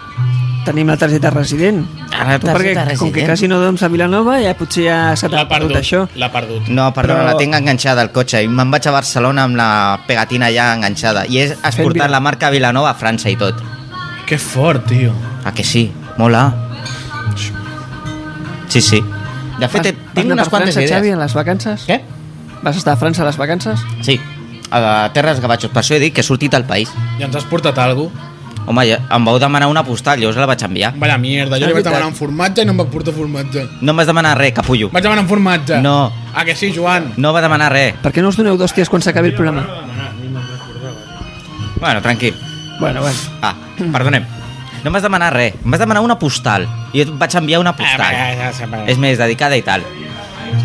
[SPEAKER 3] Tenim la targeta resident.
[SPEAKER 2] Ah, la targeta
[SPEAKER 3] Tu, perquè, Com
[SPEAKER 2] resident.
[SPEAKER 3] que quasi no dones a Vilanova, ja potser ja s'ha
[SPEAKER 1] L'ha
[SPEAKER 3] perdut
[SPEAKER 1] perdut,
[SPEAKER 3] això.
[SPEAKER 1] l'ha perdut.
[SPEAKER 2] No, perdona,
[SPEAKER 3] Però-
[SPEAKER 2] Però... la tinc enganxada al cotxe i me'n vaig a Barcelona amb la pegatina ja enganxada i he exportat
[SPEAKER 3] Vila-
[SPEAKER 2] la marca Vilanova a França i tot.
[SPEAKER 1] Que fort, tio.
[SPEAKER 2] Ah, que sí? Mola. Sí, sí. De fet,
[SPEAKER 3] Vas- vas
[SPEAKER 2] tinc
[SPEAKER 3] anar
[SPEAKER 2] unes
[SPEAKER 3] per
[SPEAKER 2] quantes
[SPEAKER 3] França,
[SPEAKER 2] idees.
[SPEAKER 3] Xavi, a les vacances?
[SPEAKER 2] Què?
[SPEAKER 3] Vas estar a França a les vacances?
[SPEAKER 2] Sí, a Terres Gavatxos. Per això he dit que he sortit al país.
[SPEAKER 1] I ens has portat alguna
[SPEAKER 2] Home, ja, em vau demanar una postal, jo us la vaig enviar.
[SPEAKER 1] Vaya mierda, jo li
[SPEAKER 3] És
[SPEAKER 1] vaig
[SPEAKER 3] veritat.
[SPEAKER 1] demanar un formatge i no em va portar formatge.
[SPEAKER 2] No em vas demanar res, capullo.
[SPEAKER 1] Vaig demanar un formatge.
[SPEAKER 2] No.
[SPEAKER 1] Ah, que sí, Joan?
[SPEAKER 2] No va demanar res.
[SPEAKER 3] Per què no us doneu d'hòsties quan s'acabi el programa?
[SPEAKER 2] Bueno, tranquil.
[SPEAKER 3] Bueno, bueno.
[SPEAKER 2] Ah, perdonem. No em vas demanar res. Em vas demanar una postal. I et vaig enviar una
[SPEAKER 1] Ah, va,
[SPEAKER 2] postal.
[SPEAKER 1] ja, ja, ja, ja.
[SPEAKER 2] És més, dedicada i tal.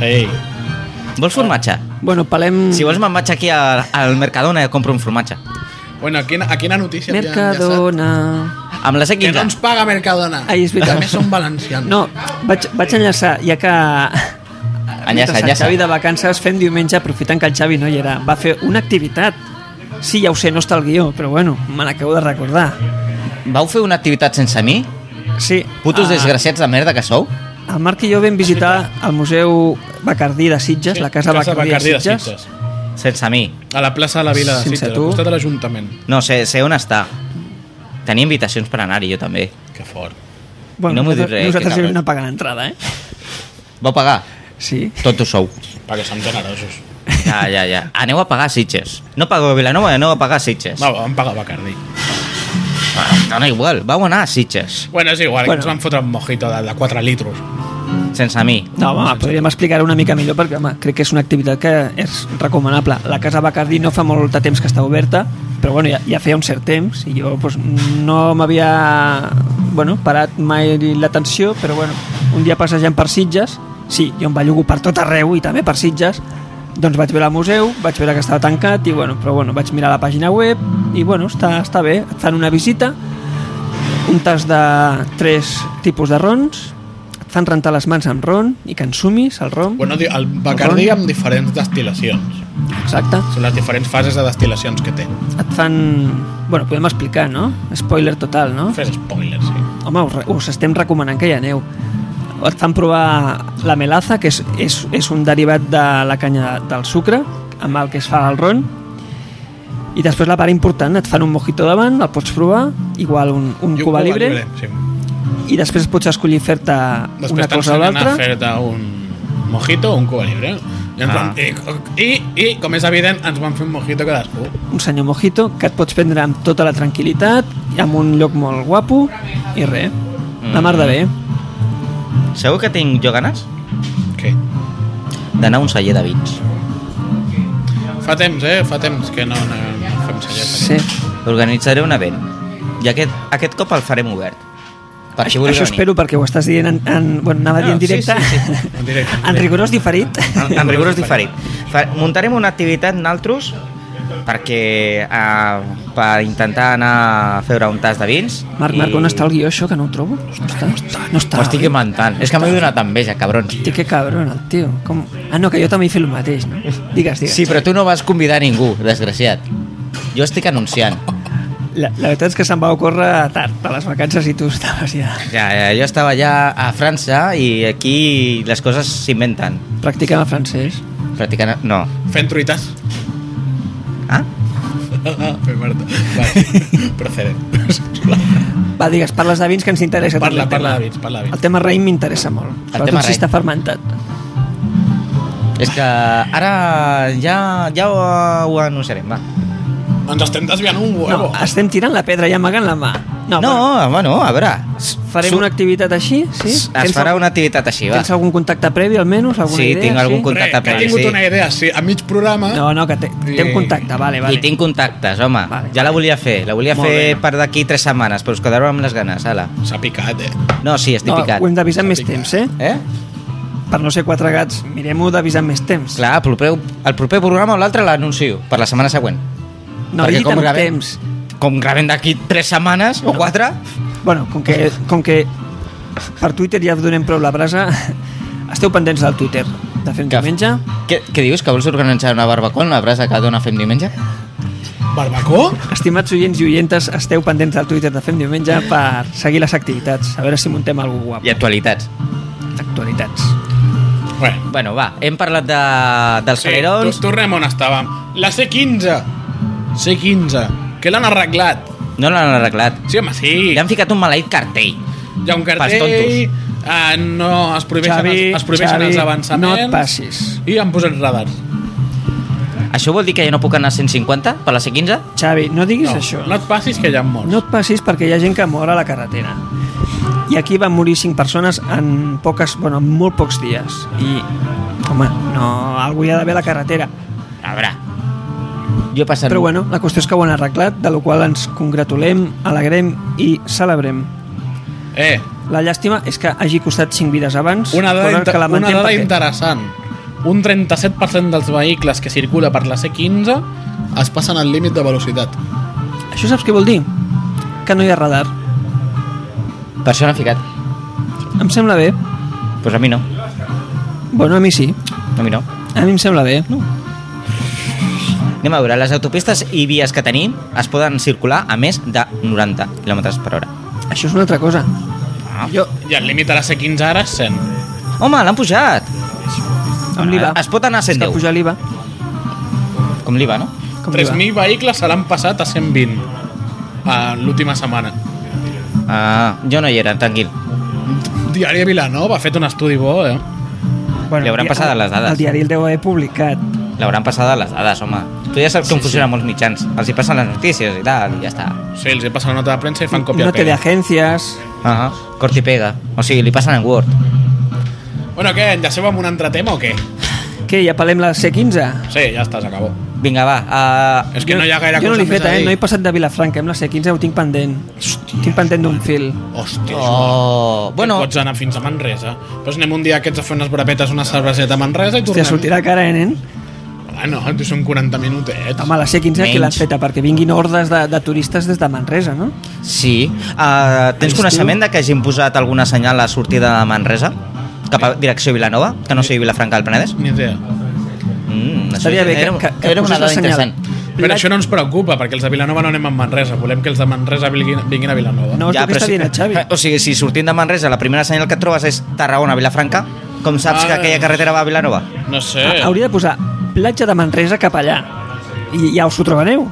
[SPEAKER 1] Sí.
[SPEAKER 2] Vols formatge?
[SPEAKER 3] Bueno, palem...
[SPEAKER 2] Si vols me'n vaig aquí al, al Mercadona i compro un formatge.
[SPEAKER 1] Bueno, a quina, a quina notícia? ja-
[SPEAKER 3] Mercadona...
[SPEAKER 2] Amb la
[SPEAKER 1] Ja, ja que no ens
[SPEAKER 2] C15.
[SPEAKER 1] paga Mercadona.
[SPEAKER 3] Ai, és veritat.
[SPEAKER 1] També són valencians.
[SPEAKER 3] No, vaig, vaig enllaçar, ja que... Mentre el
[SPEAKER 2] enllaça.
[SPEAKER 3] Xavi de vacances fent diumenge, aprofitant que el Xavi no hi era, va fer una activitat. Sí, ja ho sé, no està al guió, però bueno, me l'acabo de recordar.
[SPEAKER 2] Vau fer una activitat sense mi?
[SPEAKER 3] Sí.
[SPEAKER 2] Putos
[SPEAKER 3] ah,
[SPEAKER 2] desgraciats de merda que sou?
[SPEAKER 3] El Marc i jo vam visitar el Museu Bacardí de Sitges,
[SPEAKER 1] Sí,
[SPEAKER 3] la Casa, Bacardí, de Sitges.
[SPEAKER 2] Sense mi.
[SPEAKER 1] A la plaça de la Vila de
[SPEAKER 3] Sense
[SPEAKER 1] Sitges, al
[SPEAKER 3] tu.
[SPEAKER 1] costat de l'Ajuntament.
[SPEAKER 2] No, sé, sé on està. Tenia invitacions per anar-hi, jo també.
[SPEAKER 1] Que fort.
[SPEAKER 2] No m'ho dius
[SPEAKER 3] nosaltres-
[SPEAKER 2] res,
[SPEAKER 3] Nosaltres
[SPEAKER 2] que
[SPEAKER 3] hi vam
[SPEAKER 2] cabrons.
[SPEAKER 3] anar pagant entrada, eh?
[SPEAKER 2] Vau pagar?
[SPEAKER 3] Sí.
[SPEAKER 2] Tot ho sou.
[SPEAKER 1] Perquè som generosos.
[SPEAKER 2] Ja, ja, ja. Aneu a pagar a Sitges. No pagueu a Vilanova, aneu a pagar a Sitges.
[SPEAKER 1] Va, vam pagar Bacardi.
[SPEAKER 2] Ah, Dona igual, vau anar a Sitges.
[SPEAKER 1] Bueno, és igual,
[SPEAKER 3] Bueno.
[SPEAKER 1] que ens van fotre un mojito de, de 4 litros.
[SPEAKER 2] Sense mi.
[SPEAKER 3] No, home, podríem explicar-ho una mica millor perquè, home, crec que és una activitat que és recomanable. La Casa Bacardí no fa molt de temps que està oberta, però bueno, ja, ja feia un cert temps i jo pues, no m'havia bueno, parat mai l'atenció, però bueno, un dia passejant per Sitges, sí, jo em bellugo per tot arreu i també per Sitges, doncs vaig veure el museu, vaig veure que estava tancat i bueno, però bueno, vaig mirar la pàgina web i bueno, està, està bé, et fan una visita un tas de tres tipus de rons, et fan rentar les mans amb ron i que ensumis el ron.
[SPEAKER 1] Bueno, di- el Bacardi amb diferents destil·lacions.
[SPEAKER 3] Exacte.
[SPEAKER 1] Són les diferents fases de destil·lacions que té.
[SPEAKER 3] Et fan... Bueno, podem explicar, no? Spoiler total, no?
[SPEAKER 1] Fes spoilers, sí.
[SPEAKER 3] Home, us, re- us estem recomanant que hi aneu. Et fan provar la melaza, que és, és, és un derivat de la canya del sucre, amb el que es fa el ron, i després la part important, et fan un mojito davant, el pots provar, igual un, un
[SPEAKER 1] I
[SPEAKER 3] cuba libre, libre,
[SPEAKER 1] Sí.
[SPEAKER 3] i després pots escollir fer-te
[SPEAKER 1] Després
[SPEAKER 3] una cosa o
[SPEAKER 1] t'ensenyen a
[SPEAKER 3] l'altra.
[SPEAKER 1] fer-te un mojito o un cuba libre. I, ens
[SPEAKER 2] Ah.
[SPEAKER 1] van, i, i, I, com és evident, ens van fer un mojito cadascú.
[SPEAKER 3] un senyor mojito que et pots prendre amb tota la tranquil·litat amb un lloc molt guapo i res, la mar de bé
[SPEAKER 2] Segur que tinc jo ganes
[SPEAKER 1] Què?
[SPEAKER 2] d'anar a un celler de vins.
[SPEAKER 1] Fa temps, eh? Fa temps que no, no, no fem celler.
[SPEAKER 3] sí.
[SPEAKER 2] Organitzaré un event. I aquest, aquest cop el farem obert. per qui vulgui
[SPEAKER 3] Això
[SPEAKER 2] venir.
[SPEAKER 3] espero perquè ho estàs dient en, en, bueno, anava a dir en
[SPEAKER 2] No, sí,
[SPEAKER 3] directe, Ah.
[SPEAKER 2] sí,
[SPEAKER 1] En directe.
[SPEAKER 3] en rigorós diferit.
[SPEAKER 2] en, en rigorós diferit. Fa- Muntarem una activitat naltros perquè eh, per intentar anar a fer un tas de vins.
[SPEAKER 3] Marc, Marc, on està el guió això, que no ho trobo? No està, no està. No està.
[SPEAKER 2] M'ho estic inventant. És que m'he donat enveja, cabrons.
[SPEAKER 3] Hosti, que cabron, el tio. Com... Ah, no, que jo també he fet el mateix, no? Digues, digues.
[SPEAKER 2] Sí, però tu no vas convidar ningú, desgraciat. Jo estic anunciant.
[SPEAKER 3] La, la veritat és que se'm va ocórrer tard, a les vacances, i tu estaves ja
[SPEAKER 2] Ja, ja, jo estava ja a França i aquí les coses s'inventen.
[SPEAKER 3] practicant el francès.
[SPEAKER 2] Practicant... No.
[SPEAKER 1] Fent truites.
[SPEAKER 2] Ah?
[SPEAKER 1] Fent Marta. Vale. Procedent.
[SPEAKER 3] Va, digues, parles de vins que ens interessa.
[SPEAKER 1] parla,
[SPEAKER 3] també el
[SPEAKER 1] parla
[SPEAKER 3] tema.
[SPEAKER 1] de vins, parla de
[SPEAKER 3] El
[SPEAKER 1] vins.
[SPEAKER 3] tema raïm m'interessa molt,
[SPEAKER 2] tema
[SPEAKER 3] sobretot si
[SPEAKER 2] raïm.
[SPEAKER 3] està fermentat.
[SPEAKER 2] És que ara ja, ja ho, ho anunciarem, va.
[SPEAKER 1] Ens estem desviant un
[SPEAKER 3] No,
[SPEAKER 1] huevo.
[SPEAKER 3] estem tirant la pedra i amagant la mà.
[SPEAKER 2] No, no
[SPEAKER 3] No,
[SPEAKER 2] bueno, a veure.
[SPEAKER 3] bueno, farem una activitat així, sí?
[SPEAKER 2] Es es farà una activitat així, va.
[SPEAKER 3] Tens algun contacte previ, almenys? Alguna
[SPEAKER 2] Sí,
[SPEAKER 3] idea,
[SPEAKER 2] tinc algun
[SPEAKER 1] Re,
[SPEAKER 2] contacte
[SPEAKER 1] que he
[SPEAKER 2] previ,
[SPEAKER 1] tingut
[SPEAKER 2] sí.
[SPEAKER 1] una idea, sí, a mig programa...
[SPEAKER 3] No, no, que té, té un
[SPEAKER 1] Sí.
[SPEAKER 3] contacte, vale, vale.
[SPEAKER 2] I tinc contactes, home.
[SPEAKER 3] Vale.
[SPEAKER 2] ja la volia fer. La volia
[SPEAKER 3] Molt
[SPEAKER 2] fer
[SPEAKER 3] bé.
[SPEAKER 2] per d'aquí tres setmanes, però us quedareu amb les ganes, ala.
[SPEAKER 1] S'ha picat, eh?
[SPEAKER 2] No, sí, estic
[SPEAKER 3] no,
[SPEAKER 2] picat.
[SPEAKER 3] ho hem d'avisar amb més
[SPEAKER 1] Picat.
[SPEAKER 3] temps, eh?
[SPEAKER 2] Eh?
[SPEAKER 3] Per no ser quatre gats, mirem-ho d'avisar amb més temps.
[SPEAKER 2] Clar, el proper, el proper programa o l'altre l'anuncio, per la setmana següent.
[SPEAKER 3] no,
[SPEAKER 2] perquè
[SPEAKER 3] he dit
[SPEAKER 2] com
[SPEAKER 3] amb
[SPEAKER 2] gravem-
[SPEAKER 3] temps.
[SPEAKER 2] Com gravem d'aquí tres setmanes o quatre...
[SPEAKER 3] Bueno, com que, com que per Twitter ja donem prou la brasa, esteu pendents del Twitter de fer un diumenge.
[SPEAKER 2] Què, què dius? Que vols organitzar una barbacoa en la brasa que dona fem diumenge?
[SPEAKER 1] Barbacó?
[SPEAKER 3] Estimats oients i oientes, esteu pendents del Twitter de Fem Diumenge per seguir les activitats, a veure si muntem alguna guap.
[SPEAKER 2] I actualitats.
[SPEAKER 3] Actualitats.
[SPEAKER 1] Bueno,
[SPEAKER 2] Bueno, va, hem parlat de, dels
[SPEAKER 1] Calerons...
[SPEAKER 2] sí,
[SPEAKER 3] doncs
[SPEAKER 2] calerons.
[SPEAKER 1] Sí, tornem on estàvem. La C15. C15. Que l'han arreglat.
[SPEAKER 2] No l'han arreglat.
[SPEAKER 1] Sí, home, sí.
[SPEAKER 2] Li han ficat un maleït cartell.
[SPEAKER 1] Hi ha un
[SPEAKER 2] Pels
[SPEAKER 1] cartell...
[SPEAKER 2] tontos.
[SPEAKER 1] Uh, no, es prohibeixen,
[SPEAKER 3] Xavi,
[SPEAKER 1] els, es prohibeixen
[SPEAKER 3] Xavi,
[SPEAKER 1] els avançaments.
[SPEAKER 3] no et passis.
[SPEAKER 1] I han posat radars.
[SPEAKER 2] Això vol dir que jo no puc anar a 150 per la C15?
[SPEAKER 3] Xavi, no diguis
[SPEAKER 1] No,
[SPEAKER 3] això.
[SPEAKER 1] no et passis que ja han mort.
[SPEAKER 3] No et passis perquè hi ha gent que mor a la carretera. I aquí van morir cinc persones en, poques, bueno, en molt pocs dies. I, home, no, algú hi ha d'haver a la carretera.
[SPEAKER 2] A veure. Jo he passat...
[SPEAKER 3] Però bueno, la qüestió és que ho han arreglat, de la qual ens congratulem, alegrem i celebrem.
[SPEAKER 1] Eh,
[SPEAKER 3] La llàstima és que hagi costat 5 vides abans,
[SPEAKER 1] una dada,
[SPEAKER 3] cosa
[SPEAKER 1] inter...
[SPEAKER 3] que
[SPEAKER 1] una
[SPEAKER 3] lamentem
[SPEAKER 1] dada
[SPEAKER 3] perquè-
[SPEAKER 1] interessant. Un 37% dels vehicles que circula per la C15 es passen al límit de velocitat.
[SPEAKER 3] Això saps què vol dir? Que no hi ha radar.
[SPEAKER 2] Per això n'ha ficat.
[SPEAKER 3] Em sembla bé.
[SPEAKER 2] Doncs pues a mi no.
[SPEAKER 3] Bueno, a mi sí.
[SPEAKER 2] A mi no.
[SPEAKER 3] A mi em sembla bé. No.
[SPEAKER 2] Anem a veure, les autopistes i vies que tenim es poden circular a més de 90 km per hora.
[SPEAKER 3] Això és una altra cosa.
[SPEAKER 2] Ah.
[SPEAKER 3] Jo,
[SPEAKER 1] I el límit a la C15 ara és 100.
[SPEAKER 2] Home, l'han pujat!
[SPEAKER 3] amb l'IVA.
[SPEAKER 2] Es pot anar a
[SPEAKER 3] Es que
[SPEAKER 2] 110,
[SPEAKER 3] pujar l'IVA.
[SPEAKER 2] com l'IVA, no?
[SPEAKER 3] Com l'IVA.
[SPEAKER 1] 3.000 vehicles se l'han passat a 120 en l'última setmana.
[SPEAKER 2] Ah, jo no hi era, tranquil.
[SPEAKER 1] Diari de Vilanova ha fet un estudi bo, eh?
[SPEAKER 3] Bueno,
[SPEAKER 2] Li hauran
[SPEAKER 3] el dia-
[SPEAKER 2] passat a les dades.
[SPEAKER 3] El diari el deu haver publicat.
[SPEAKER 2] L'hauran passada les dades, home. Tu ja saps com sí, funcionen molts mitjans. Els hi passen les notícies i tal, i ja està.
[SPEAKER 1] Sí, els he passat una nota de premsa i fan còpia
[SPEAKER 3] no
[SPEAKER 1] no
[SPEAKER 3] té
[SPEAKER 1] pega.
[SPEAKER 3] d'agències.
[SPEAKER 2] Ah, cort i pega. O sigui, li passen en Word.
[SPEAKER 1] Bueno, què, enllacem amb un altre tema o què?
[SPEAKER 3] Què, ja palem la C15?
[SPEAKER 1] Sí, ja està, s'acabó.
[SPEAKER 2] Vinga, va. Uh,
[SPEAKER 1] És que no hi ha gaire
[SPEAKER 3] jo no
[SPEAKER 1] cosa
[SPEAKER 3] l'he
[SPEAKER 1] més
[SPEAKER 3] fet,
[SPEAKER 1] a
[SPEAKER 3] eh?
[SPEAKER 1] dir.
[SPEAKER 3] No he passat de Vilafranca, amb la C15 ho tinc pendent. Hòstia. Tinc pendent d'un fil.
[SPEAKER 1] Hòstia, oh.
[SPEAKER 2] oh,
[SPEAKER 1] Bueno.
[SPEAKER 2] bueno,
[SPEAKER 1] Pots anar fins a Manresa. Doncs anem un dia aquests a fer unes brapetes, una cerveseta a Manresa i
[SPEAKER 3] Hòstia,
[SPEAKER 1] tornem.
[SPEAKER 3] sortirà cara, eh, nen?
[SPEAKER 1] Ah, no, tu són 40 minutets.
[SPEAKER 3] Home, la C15 aquí
[SPEAKER 2] Menys.
[SPEAKER 3] l'han feta perquè vinguin hordes de, de turistes des de Manresa, no?
[SPEAKER 2] sí. Uh, tens
[SPEAKER 3] Estiu.
[SPEAKER 2] coneixement de que hagin posat alguna senyal a la sortida de Manresa? Cap a direcció Vilanova? Que no sigui Vilafranca del Penedès?
[SPEAKER 1] Ni idea.
[SPEAKER 2] Mm, això
[SPEAKER 3] Estaria bé que-
[SPEAKER 2] era,
[SPEAKER 3] que- que
[SPEAKER 2] era una
[SPEAKER 3] posés la
[SPEAKER 2] dada
[SPEAKER 3] senyal.
[SPEAKER 2] interessant.
[SPEAKER 1] Però això no ens preocupa, perquè els de Vilanova no anem a Manresa. Volem que els de Manresa vinguin, vinguin a Vilanova.
[SPEAKER 3] No, és el que
[SPEAKER 2] però
[SPEAKER 3] està
[SPEAKER 2] si-
[SPEAKER 3] dient el Xavi.
[SPEAKER 2] O sigui, si sortint de Manresa la primera senyal que et trobes és Tarragona-Vilafranca, com saps que
[SPEAKER 1] Ah.
[SPEAKER 2] aquella carretera va a Vilanova?
[SPEAKER 1] no sé.
[SPEAKER 3] Ha- Hauria de posar platja de Manresa cap allà. I ja us ho trobareu.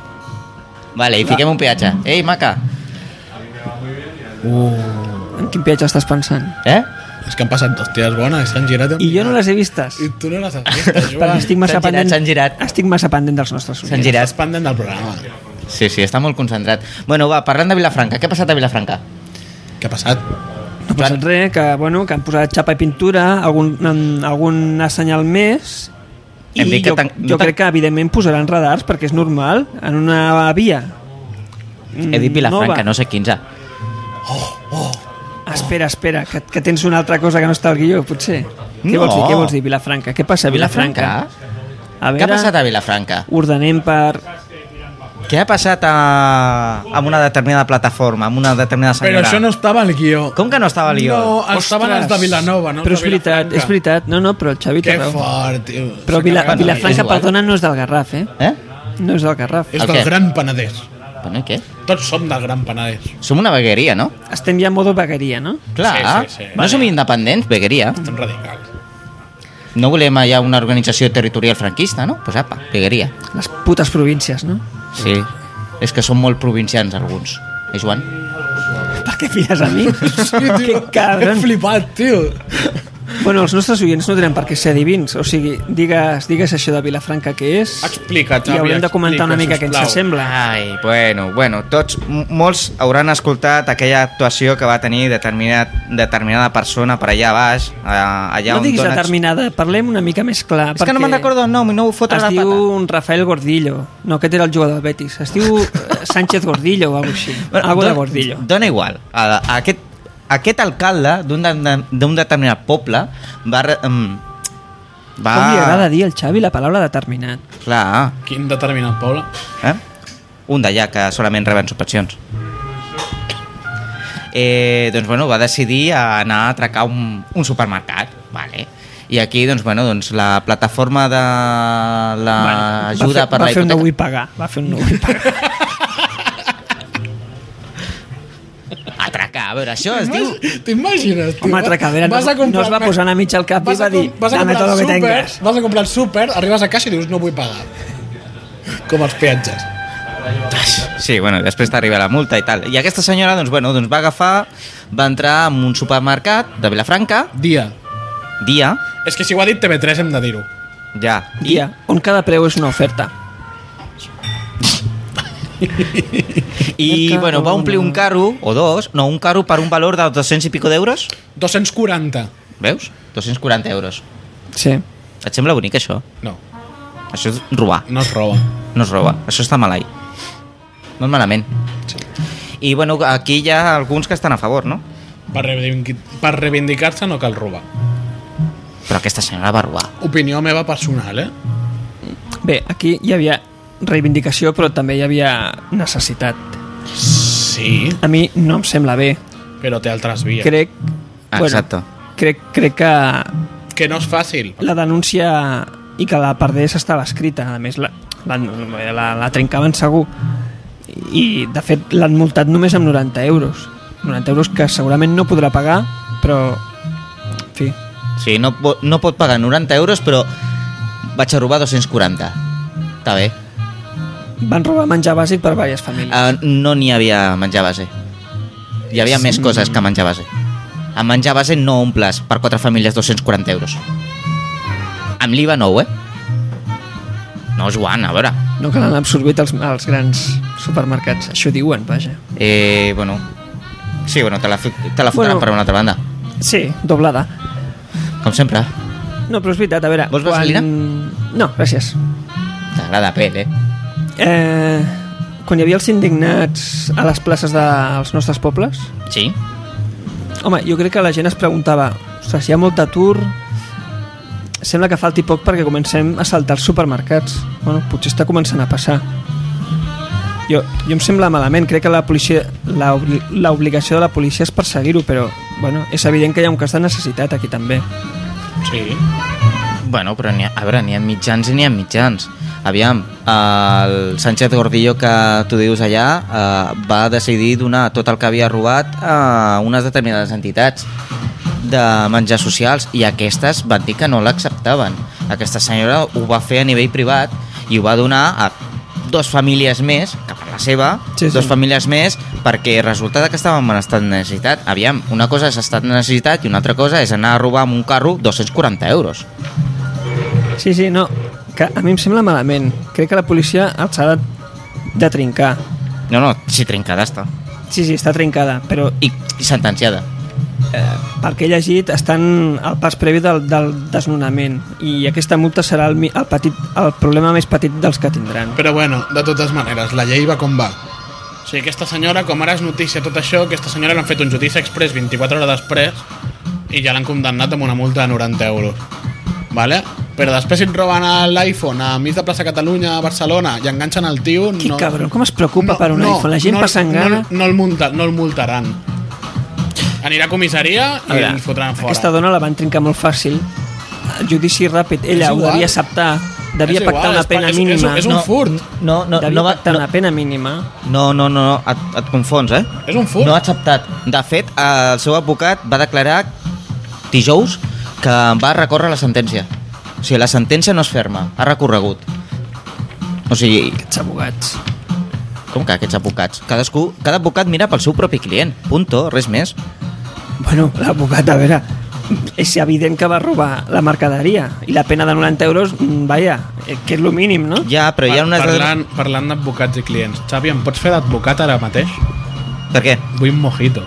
[SPEAKER 2] Vale, i fiquem un peatge. Ei, maca,
[SPEAKER 3] En quin peatge estàs pensant?
[SPEAKER 2] eh?
[SPEAKER 1] És que han passat dos ties bones, s'han girat.
[SPEAKER 3] I jo no les he vistes.
[SPEAKER 1] I tu no les has vist,
[SPEAKER 3] Perquè
[SPEAKER 1] Joan.
[SPEAKER 3] estic massa
[SPEAKER 2] S'han girat,
[SPEAKER 3] pendent...
[SPEAKER 2] s'han girat.
[SPEAKER 3] Estic massa pendent dels nostres
[SPEAKER 2] S'han
[SPEAKER 3] oients.
[SPEAKER 2] girat.
[SPEAKER 1] Estàs pendent del programa.
[SPEAKER 2] Sí, sí, està molt concentrat. Bueno, va, parlant de Vilafranca, què ha passat a Vilafranca?
[SPEAKER 1] Què ha passat?
[SPEAKER 3] No ha passat res, que, bueno, que han posat xapa i pintura, algun, en- algun senyal més... I
[SPEAKER 2] Hem dit que
[SPEAKER 3] jo,
[SPEAKER 2] tan-
[SPEAKER 3] jo
[SPEAKER 2] tan-
[SPEAKER 3] crec que, evidentment, posaran radars, perquè és normal, en una via... Mm,
[SPEAKER 2] He dit Vilafranca, no sé 15.
[SPEAKER 3] Es Espera, espera, que, que tens una altra cosa que no està al guió, potser. Què
[SPEAKER 2] No.
[SPEAKER 3] vols dir? Què vols dir, Vilafranca? Què passa, a Vilafranca? A
[SPEAKER 2] Què ha
[SPEAKER 3] veure,
[SPEAKER 2] passat a Vilafranca?
[SPEAKER 3] ordenem per...
[SPEAKER 2] Què ha passat a... amb una determinada plataforma, amb una determinada
[SPEAKER 1] Però
[SPEAKER 2] senyora?
[SPEAKER 1] això no estava al guió.
[SPEAKER 2] Com que no estava al guió?
[SPEAKER 1] No, estaven els de Vilanova, no? els
[SPEAKER 3] però és
[SPEAKER 1] de
[SPEAKER 3] veritat,
[SPEAKER 1] Vilafranca.
[SPEAKER 3] és veritat. No, no, però el Xavi té
[SPEAKER 1] Que
[SPEAKER 3] raó.
[SPEAKER 1] fort, tio.
[SPEAKER 3] Però Vila,
[SPEAKER 2] Bueno, és
[SPEAKER 3] Vilafranca,
[SPEAKER 2] igual.
[SPEAKER 3] perdona, no és del Garraf, eh?
[SPEAKER 2] Eh?
[SPEAKER 3] No és del Garraf.
[SPEAKER 1] És
[SPEAKER 2] El
[SPEAKER 1] del
[SPEAKER 2] què?
[SPEAKER 1] Gran Penedès.
[SPEAKER 2] Bueno, i què?
[SPEAKER 1] Tots som del Gran Penedès.
[SPEAKER 2] Som una vegueria, no?
[SPEAKER 3] Estem ja en modo vegueria, no?
[SPEAKER 2] Clar,
[SPEAKER 1] Sí, sí, sí.
[SPEAKER 2] no som independents, vegueria.
[SPEAKER 1] Estem radicals.
[SPEAKER 2] No volem allà una organització territorial franquista, no? Pues apa, vegueria.
[SPEAKER 3] Les putes províncies, no?
[SPEAKER 2] Sí, és que són molt provincians alguns. Eh, Joan?
[SPEAKER 3] Per què fires a mi? que
[SPEAKER 1] He
[SPEAKER 3] cabron.
[SPEAKER 1] flipat, tio.
[SPEAKER 3] Bueno, els nostres oients no tenen per què ser divins. O sigui, digues, digues això de Vilafranca que és...
[SPEAKER 1] Explica't,
[SPEAKER 3] I
[SPEAKER 1] Xavi,
[SPEAKER 3] haurem de comentar una
[SPEAKER 1] explica,
[SPEAKER 3] mica què ens
[SPEAKER 1] sisplau.
[SPEAKER 3] sembla.
[SPEAKER 2] Ai, bueno, bueno, tots, m- molts hauran escoltat aquella actuació que va tenir determinat, determinada persona per allà baix, a- allà
[SPEAKER 3] No
[SPEAKER 2] on
[SPEAKER 3] diguis
[SPEAKER 2] dones...
[SPEAKER 3] determinada, parlem una mica més clar.
[SPEAKER 2] És que no me'n recordo el nom i no ho fotre
[SPEAKER 3] Es
[SPEAKER 2] la
[SPEAKER 3] diu
[SPEAKER 2] pata.
[SPEAKER 3] un Rafael Gordillo. No, aquest era el jugador del Betis. Es diu eh, Sánchez Gordillo o alguna així. Algo de
[SPEAKER 2] don-
[SPEAKER 3] Gordillo.
[SPEAKER 2] Dona igual. A, a aquest, aquest alcalde d'un de- d'un determinat poble va... re- em, va...
[SPEAKER 3] Com li agrada dir al Xavi la paraula determinat.
[SPEAKER 2] Clar,
[SPEAKER 1] Quin determinat poble.
[SPEAKER 2] eh? Un d'allà que solament reben subvencions. Eh, doncs, bueno, va decidir anar a atracar un, un supermercat, vale? I aquí, doncs, bueno, doncs, la plataforma de l'ajuda
[SPEAKER 3] va fer,
[SPEAKER 2] per
[SPEAKER 3] va
[SPEAKER 2] la
[SPEAKER 3] fer un
[SPEAKER 2] hipoteca...
[SPEAKER 3] no vull pagar. Va fer un no vull pagar.
[SPEAKER 2] Atracar, a veure, això es diu...
[SPEAKER 1] T'imagines, tio?
[SPEAKER 3] Home, Tracadera, no-
[SPEAKER 1] Vas a
[SPEAKER 3] no es va posar una mitja al cap i
[SPEAKER 1] Vas a
[SPEAKER 3] va dir,
[SPEAKER 1] com- vas a
[SPEAKER 3] "Dame
[SPEAKER 1] comprar
[SPEAKER 3] todo
[SPEAKER 1] al
[SPEAKER 3] lo que
[SPEAKER 1] súper,
[SPEAKER 3] tengas".
[SPEAKER 1] Vas a comprar al súper, arribes a casa i dius, no vull pagar. Com els peatges.
[SPEAKER 2] Sí, bueno, i després t'arriba la multa i tal. I aquesta senyora, doncs, bueno, doncs va agafar, va entrar en un supermercat de Vilafranca,
[SPEAKER 1] Dia.
[SPEAKER 2] dia,
[SPEAKER 1] És que si ho ha dit TV3 hem de dir-ho.
[SPEAKER 2] ja,
[SPEAKER 3] Dia, on cada preu és una oferta.
[SPEAKER 2] i,
[SPEAKER 3] Mercado,
[SPEAKER 2] bueno, va omplir un carro, o dos, no, un carro per un valor de 200 i pico d'euros,
[SPEAKER 1] 240.
[SPEAKER 2] veus? 240 euros.
[SPEAKER 3] Sí.
[SPEAKER 2] Et sembla bonic, això?
[SPEAKER 1] No,
[SPEAKER 2] Això és robar,
[SPEAKER 1] no es roba.
[SPEAKER 2] no es roba, això està malai. Molt malament. I, bueno, aquí hi ha alguns que estan a favor, no?
[SPEAKER 1] Per reivindic- per reivindicar-se no cal robar.
[SPEAKER 2] Però aquesta senyora va robar.
[SPEAKER 1] Opinió meva personal, eh?
[SPEAKER 3] Bé, aquí hi havia reivindicació, però també hi havia necessitat.
[SPEAKER 1] Sí,
[SPEAKER 3] A mi no em sembla bé.
[SPEAKER 1] però té altres vies.
[SPEAKER 3] Crec...
[SPEAKER 2] Exacte.
[SPEAKER 3] crec, crec que
[SPEAKER 1] Que no és fàcil.
[SPEAKER 3] la denúncia i que la perdés estava escrita a més la, la, la, la trencaven segur i de fet l'han multat només amb 90 euros 90 euros que segurament no podrà pagar però en fi
[SPEAKER 2] Sí, no, po- no pot pagar 90 euros, però vaig a robar 240. Està bé.
[SPEAKER 3] van robar menjar bàsic per diverses famílies
[SPEAKER 2] Uh, no n'hi havia menjar base. Hi havia més coses que menjar base. A menjar base no omples per quatre famílies 240 euros. Amb l'IVA no, eh? No, Joan, a veure.
[SPEAKER 3] no que l'han absorbit els, els grans supermercats això diuen, vaja
[SPEAKER 2] Eh, bueno... Sí, bueno, te la, fi- te la fotran
[SPEAKER 3] Bueno.
[SPEAKER 2] bueno. per una altra banda.
[SPEAKER 3] sí, doblada
[SPEAKER 2] Com sempre.
[SPEAKER 3] no, però és veritat, a veure
[SPEAKER 2] Vols vaselina?
[SPEAKER 3] no, gràcies
[SPEAKER 2] T'agrada pell, eh?
[SPEAKER 3] eh, quan hi havia els indignats a les places dels nostres pobles
[SPEAKER 2] Sí.
[SPEAKER 3] Home, jo crec que la gent es preguntava ostres, hi ha molt d'atur sembla que falti poc perquè comencem a saltar els supermercats bueno, potser està començant a passar jo, jo em sembla malament crec que la policia la obli- la obligació de la policia és perseguir-ho però bueno, és evident que hi ha un cas de necessitat aquí també
[SPEAKER 1] Sí.
[SPEAKER 2] Bueno, però n'hi ha, a veure, n'hi ha mitjans i n'hi ha mitjans. Aviam, eh, el Sánchez Gordillo que tu dius allà eh, va decidir donar tot el que havia robat a unes determinades entitats de menjar socials i aquestes van dir que no l'acceptaven. Aquesta senyora ho va fer a nivell privat i ho va donar a dos famílies més, que per la seva,
[SPEAKER 3] Sí,
[SPEAKER 2] sí,
[SPEAKER 3] sí.
[SPEAKER 2] sí. dos famílies més, perquè resulta que estaven en estat de necessitat. Aviam, una cosa és estat de necessitat i una altra cosa és anar a robar amb un carro 240 euros.
[SPEAKER 3] sí, sí, no, que a mi em sembla malament crec que la policia els ha de, de trincar
[SPEAKER 2] No, no, sí, trencada està.
[SPEAKER 3] sí, sí, està trincada però
[SPEAKER 2] I, i sentenciada.
[SPEAKER 3] pel que Eh, he llegit, estan al pas previ del, del desnonament i aquesta multa serà el, mi- el, petit, el problema més petit dels que tindran.
[SPEAKER 1] Però bueno, de totes maneres, la llei va com va. O sigui, aquesta senyora, com ara és notícia tot això, aquesta senyora l'han fet un judici express 24 hores després i ja l'han condemnat amb una multa de 90 euros. Vale? Però després si et roben l'iPhone a mig de plaça Catalunya, a Barcelona, i enganxen el tio...
[SPEAKER 3] Quin no, cabró, com es preocupa per un iPhone? La gent
[SPEAKER 1] no,
[SPEAKER 3] passant
[SPEAKER 1] no,
[SPEAKER 3] gana.
[SPEAKER 1] No, no, el multa, no el multaran. Anirà a comissaria i
[SPEAKER 3] Mira,
[SPEAKER 1] el fotran fora.
[SPEAKER 3] Aquesta dona la van trincar molt fàcil. El judici ràpid, ella
[SPEAKER 1] És
[SPEAKER 3] ho
[SPEAKER 1] igual.
[SPEAKER 3] devia acceptar, devia
[SPEAKER 1] És igual,
[SPEAKER 3] pactar una
[SPEAKER 1] és pa-
[SPEAKER 3] pena
[SPEAKER 1] és- és-
[SPEAKER 3] mínima.
[SPEAKER 1] és un
[SPEAKER 3] No,
[SPEAKER 1] furt.
[SPEAKER 2] No, no,
[SPEAKER 3] devia
[SPEAKER 2] no, va,
[SPEAKER 3] pactar
[SPEAKER 2] no,
[SPEAKER 3] una pena mínima.
[SPEAKER 2] no, no, no, no et, et confons, eh?
[SPEAKER 1] És un furt.
[SPEAKER 2] No ha acceptat. De fet, el seu advocat va declarar dijous que va recórrer la sentència. O sigui, la sentència no és ferma, ha recorregut. O sigui,
[SPEAKER 3] Aquests abogats.
[SPEAKER 2] com que aquests advocats? Cadascú, cada advocat mira pel seu propi client. Punto, res més.
[SPEAKER 3] Bueno, l'advocat, a veure, és evident que va robar la mercaderia i la pena de 90 euros, mm, vaja, eh, que és lo mínim, no?
[SPEAKER 2] Ja, però hi ha unes...
[SPEAKER 1] Parlant, parlant d'advocats i clients. Xavi, em pots fer d'advocat ara mateix?
[SPEAKER 2] Per què?
[SPEAKER 1] Vull un mojito.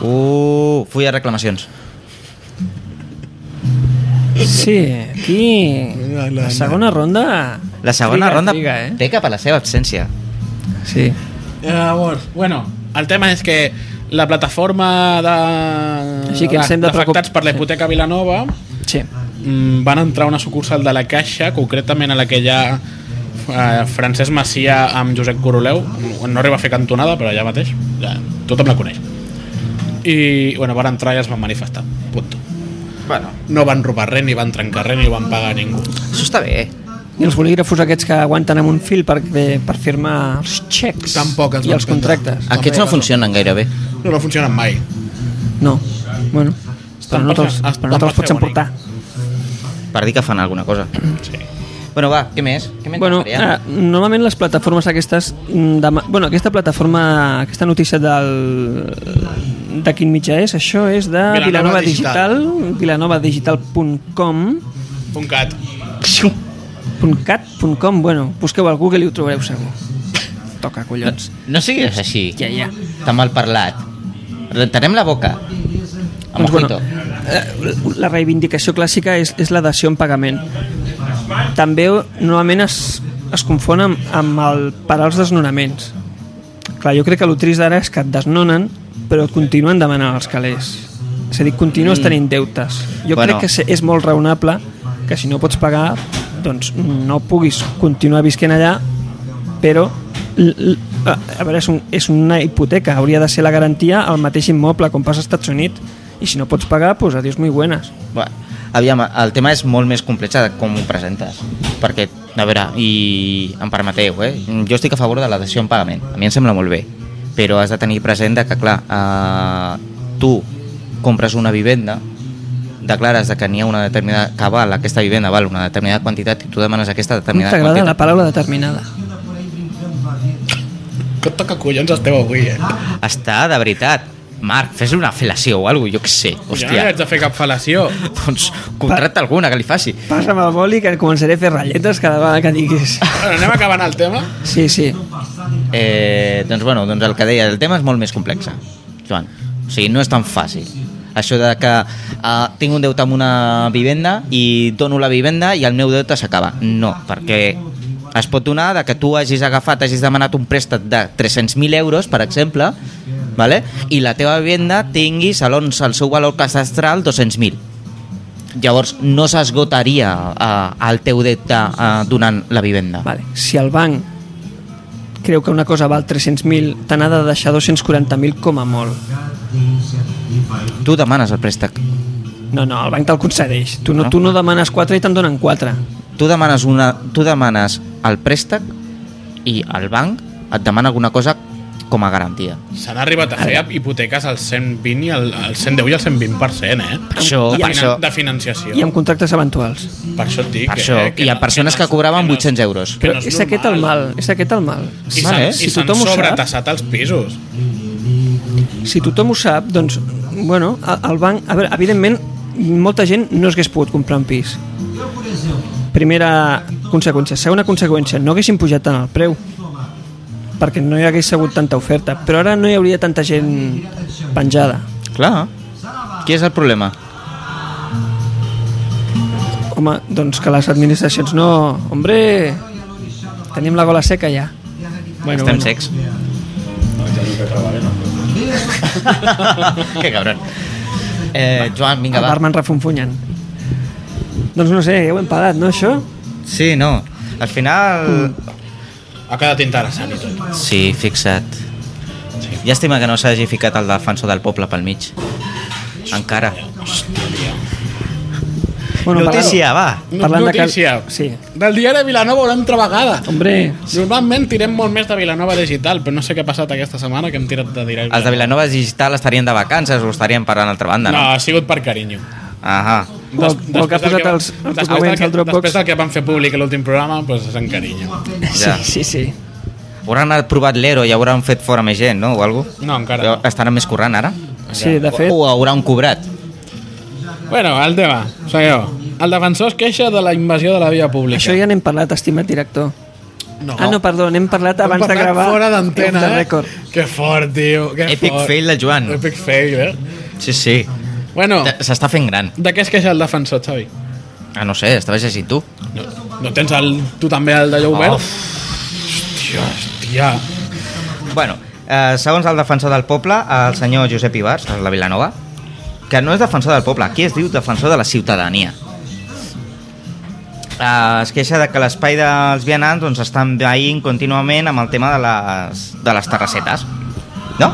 [SPEAKER 2] Uh, full de reclamacions.
[SPEAKER 3] Sí, aquí la segona ronda...
[SPEAKER 2] La segona
[SPEAKER 3] triga,
[SPEAKER 2] ronda
[SPEAKER 3] Triga, eh?
[SPEAKER 2] peca per la seva absència.
[SPEAKER 3] Sí.
[SPEAKER 1] Llavors, Eh, bueno, el tema és que la plataforma de...
[SPEAKER 3] Així que ens hem de preocup-
[SPEAKER 1] d'afectats per la hipoteca Vilanova
[SPEAKER 3] sí.
[SPEAKER 1] mm, van entrar a una sucursal de la Caixa, concretament a la que hi ha eh, Francesc Macià amb Josep Coroleu. No, no arriba a fer cantonada, però allà mateix. Ja, tothom la coneix. I, bueno, van entrar i es van manifestar. Punto.
[SPEAKER 2] Bueno,
[SPEAKER 1] No van robar res, ni van trencar res, ni van pagar a ningú.
[SPEAKER 2] això està bé.
[SPEAKER 3] I els bolígrafos aquests que aguanten amb un fil per, per firmar els xecs
[SPEAKER 1] Tampoc els
[SPEAKER 3] i
[SPEAKER 1] van
[SPEAKER 3] els
[SPEAKER 1] prendre.
[SPEAKER 3] contractes.
[SPEAKER 2] Aquests no funcionen gaire bé.
[SPEAKER 1] No, no funcionen mai.
[SPEAKER 3] No, bueno, però
[SPEAKER 1] Estan
[SPEAKER 3] no te'ls
[SPEAKER 1] per fer-
[SPEAKER 3] però no
[SPEAKER 1] estan per
[SPEAKER 3] te'ls pots
[SPEAKER 1] fer
[SPEAKER 3] emportar.
[SPEAKER 2] Per dir que fan alguna cosa.
[SPEAKER 1] Sí.
[SPEAKER 2] Bueno, va, què més? Què més
[SPEAKER 3] Bueno,
[SPEAKER 2] faria?
[SPEAKER 3] eh, normalment les plataformes aquestes... mm, De, ma- bueno, aquesta plataforma, aquesta notícia del, de quin mitjà és, això és de
[SPEAKER 1] Vilanova
[SPEAKER 3] Vilanova
[SPEAKER 1] Digital.
[SPEAKER 3] Digital, vilanovadigital.com
[SPEAKER 1] Un cat.
[SPEAKER 3] .cat.com, bueno, busqueu al Google i ho trobareu segur. Toca, collons.
[SPEAKER 2] No siguis així.
[SPEAKER 3] Ja, ja.
[SPEAKER 2] T'ha mal parlat. Rentarem la boca. Amb
[SPEAKER 3] Doncs,
[SPEAKER 2] ojito.
[SPEAKER 3] eh, la reivindicació clàssica és, és la dació en pagament. També normalment es, es confon amb, amb el parar els desnonaments. Clar, jo crec que el trist d'ara és que et desnonen però et continuen demanant els calés. És a dir, continues mm. tenint deutes. Jo
[SPEAKER 2] Bueno.
[SPEAKER 3] bueno. crec que se- és molt raonable que si no pots pagar doncs no puguis continuar visquent allà però l- l- a a veure, és, un, és una hipoteca hauria de ser la garantia al mateix immoble com passa als Estats Units i si no pots pagar, doncs adiós muy buenas
[SPEAKER 2] Bueno, aviam, el tema és molt més complex de com ho presentes. Perquè, a veure, i em permeteu, eh? jo estic a favor de la dació en pagament. A mi em sembla molt bé. Però has de tenir present de que, clar, eh, tu compres una vivenda, declares de que n'hi ha una determinada... que val, aquesta vivenda val una determinada quantitat i tu demanes aquesta
[SPEAKER 3] com
[SPEAKER 2] determinada
[SPEAKER 3] t'agrada la
[SPEAKER 2] quantitat.
[SPEAKER 3] paraula determinada
[SPEAKER 1] Que toca collons esteu avui, eh?
[SPEAKER 2] Està, de veritat. Marc, fes-li una fel·lació o alguna cosa, jo què sé.
[SPEAKER 1] Hòstia. Jo no li
[SPEAKER 2] Hòstia,
[SPEAKER 1] haig de fer cap fel·lació.
[SPEAKER 2] doncs contracta alguna que li faci.
[SPEAKER 3] passa'm el boli que començaré a fer ratlletes cada vegada que diguis
[SPEAKER 1] Bueno, anem acabant el tema.
[SPEAKER 3] sí, sí,
[SPEAKER 2] Eh, doncs, bueno, doncs el que deia, el tema és molt més complex, Joan. O sigui, no és tan fàcil. Això de que eh, tinc un deute amb una vivenda i dono la vivenda i el meu deute s'acaba. No, perquè es pot donar de que tu hagis agafat, hagis demanat un préstec de 300.000 euros, per exemple, vale? i la teva vivenda tingui, segons el seu valor catastral, 200.000. Llavors, no s'esgotaria eh, el teu deute eh, donant la vivenda.
[SPEAKER 3] vale. si el banc creu que una cosa val 300.000 te n'ha de deixar 240.000 com a molt
[SPEAKER 2] Tu demanes el préstec.
[SPEAKER 3] no, no, el banc te'l concedeix tu no,
[SPEAKER 2] Ah.
[SPEAKER 3] tu no demanes 4 i te'n donen 4
[SPEAKER 2] tu demanes, una, tu demanes el préstec i el banc et demana alguna cosa com a garantia.
[SPEAKER 1] S'han arribat a fer hipoteques al 120 i al, al 110 i al 120%, eh?
[SPEAKER 2] Per això,
[SPEAKER 1] de,
[SPEAKER 2] per això,
[SPEAKER 1] de financiació.
[SPEAKER 3] i amb contractes eventuals
[SPEAKER 1] Per això et dic,
[SPEAKER 2] per això.
[SPEAKER 1] eh?
[SPEAKER 2] Hi ha
[SPEAKER 1] no-
[SPEAKER 2] persones
[SPEAKER 1] no
[SPEAKER 2] que
[SPEAKER 1] és-
[SPEAKER 2] cobraven
[SPEAKER 1] no és-
[SPEAKER 2] 800 euros.
[SPEAKER 1] que no
[SPEAKER 3] Però
[SPEAKER 1] és
[SPEAKER 3] és aquest el mal,
[SPEAKER 1] normal.
[SPEAKER 3] és aquest el mal.
[SPEAKER 1] I
[SPEAKER 2] Vale, eh?
[SPEAKER 1] s'han
[SPEAKER 3] Si
[SPEAKER 1] si
[SPEAKER 3] tothom ho sap,
[SPEAKER 1] sobretassat els pisos.
[SPEAKER 3] si tothom ho sap, doncs, bueno, el el banc, a veure, evidentment, molta gent no s'hagués pogut comprar un pis. Primera conseqüència. Segona conseqüència, no haguessin pujat tant el preu perquè no hi hagués hagut tanta oferta. Però ara no hi hauria tanta gent penjada.
[SPEAKER 2] Clar. Qui és el problema?
[SPEAKER 3] Home, doncs que les administracions no... Hombre, tenim la gola seca ja. Bueno,
[SPEAKER 2] Estem secs.
[SPEAKER 1] Benjamín Petrabavena.
[SPEAKER 2] que cabron. Eh, Joan, vinga,
[SPEAKER 3] El
[SPEAKER 2] va.
[SPEAKER 3] barman refunfunyant. Doncs no sé, ja ho hem pagat, no, això?
[SPEAKER 2] Sí, no. Al final...
[SPEAKER 1] Ha quedat interessant i tot.
[SPEAKER 2] Sí, fixa't.
[SPEAKER 1] Sí.
[SPEAKER 2] Llàstima que no s'hagi ficat el defensor del poble pel mig. Encara. Notícia, va.
[SPEAKER 3] Parlant de cal-
[SPEAKER 1] Notícia.
[SPEAKER 3] Sí.
[SPEAKER 1] Del diari Vilanova una altra vegada.
[SPEAKER 3] parlant- Hombre,
[SPEAKER 1] Normalment tirem molt més de Vilanova Digital, però no sé què ha passat aquesta setmana que hem tirat de diari.
[SPEAKER 2] Els de Vilanova Digital estarien de vacances o estarien per una altra banda,
[SPEAKER 1] No,
[SPEAKER 2] no?
[SPEAKER 1] ha sigut per carinyo.
[SPEAKER 2] Ahà.
[SPEAKER 3] O- o que ha
[SPEAKER 1] del
[SPEAKER 3] posat
[SPEAKER 1] va-
[SPEAKER 3] els- els
[SPEAKER 1] després del
[SPEAKER 3] documents
[SPEAKER 1] que-
[SPEAKER 3] al Dropbox.
[SPEAKER 1] Després del que van fer públic a l'últim programa, doncs és en carinyo.
[SPEAKER 2] Ja.
[SPEAKER 3] sí, sí, sí.
[SPEAKER 2] Hauran aprovat l'ero i hauran fet fora més gent, no? O algo?
[SPEAKER 1] No, encara no.
[SPEAKER 2] Estaran més corrent ara?
[SPEAKER 3] Sí, de fet,
[SPEAKER 2] O hauran cobrat?
[SPEAKER 1] Bueno, el tema, segueu. El defensor es queixa de la invasió de la via pública.
[SPEAKER 3] això ja n'hem parlat, estimat director.
[SPEAKER 1] No.
[SPEAKER 3] Ah, no, perdó, n'hem parlat
[SPEAKER 1] Hem
[SPEAKER 3] abans de
[SPEAKER 1] parlat
[SPEAKER 3] gravar.
[SPEAKER 1] Fora
[SPEAKER 3] Off the
[SPEAKER 1] d'antena, eh?
[SPEAKER 3] record.
[SPEAKER 1] Que fort, tio. Que
[SPEAKER 2] Epic
[SPEAKER 1] fort.
[SPEAKER 2] fail eh? del Joan.
[SPEAKER 1] Epic fail, eh?
[SPEAKER 2] Sí, sí.
[SPEAKER 1] Bueno,
[SPEAKER 2] T- S'està fent gran.
[SPEAKER 1] de què es queixa el defensor, Xavi?
[SPEAKER 2] Ah, no sé, estaves llegint tu.
[SPEAKER 1] No, no tens el, tu també el d'allò obert?
[SPEAKER 2] Uf.
[SPEAKER 1] Hòstia, hòstia.
[SPEAKER 2] Bueno, eh, segons el defensor del poble, el senyor Josep Ibars, de la Vilanova, que no és defensor del poble, aquí es diu defensor de la ciutadania. Eh, es queixa de que l'espai dels vianants doncs, està envaint contínuament amb el tema de les, de les terrassetes. No?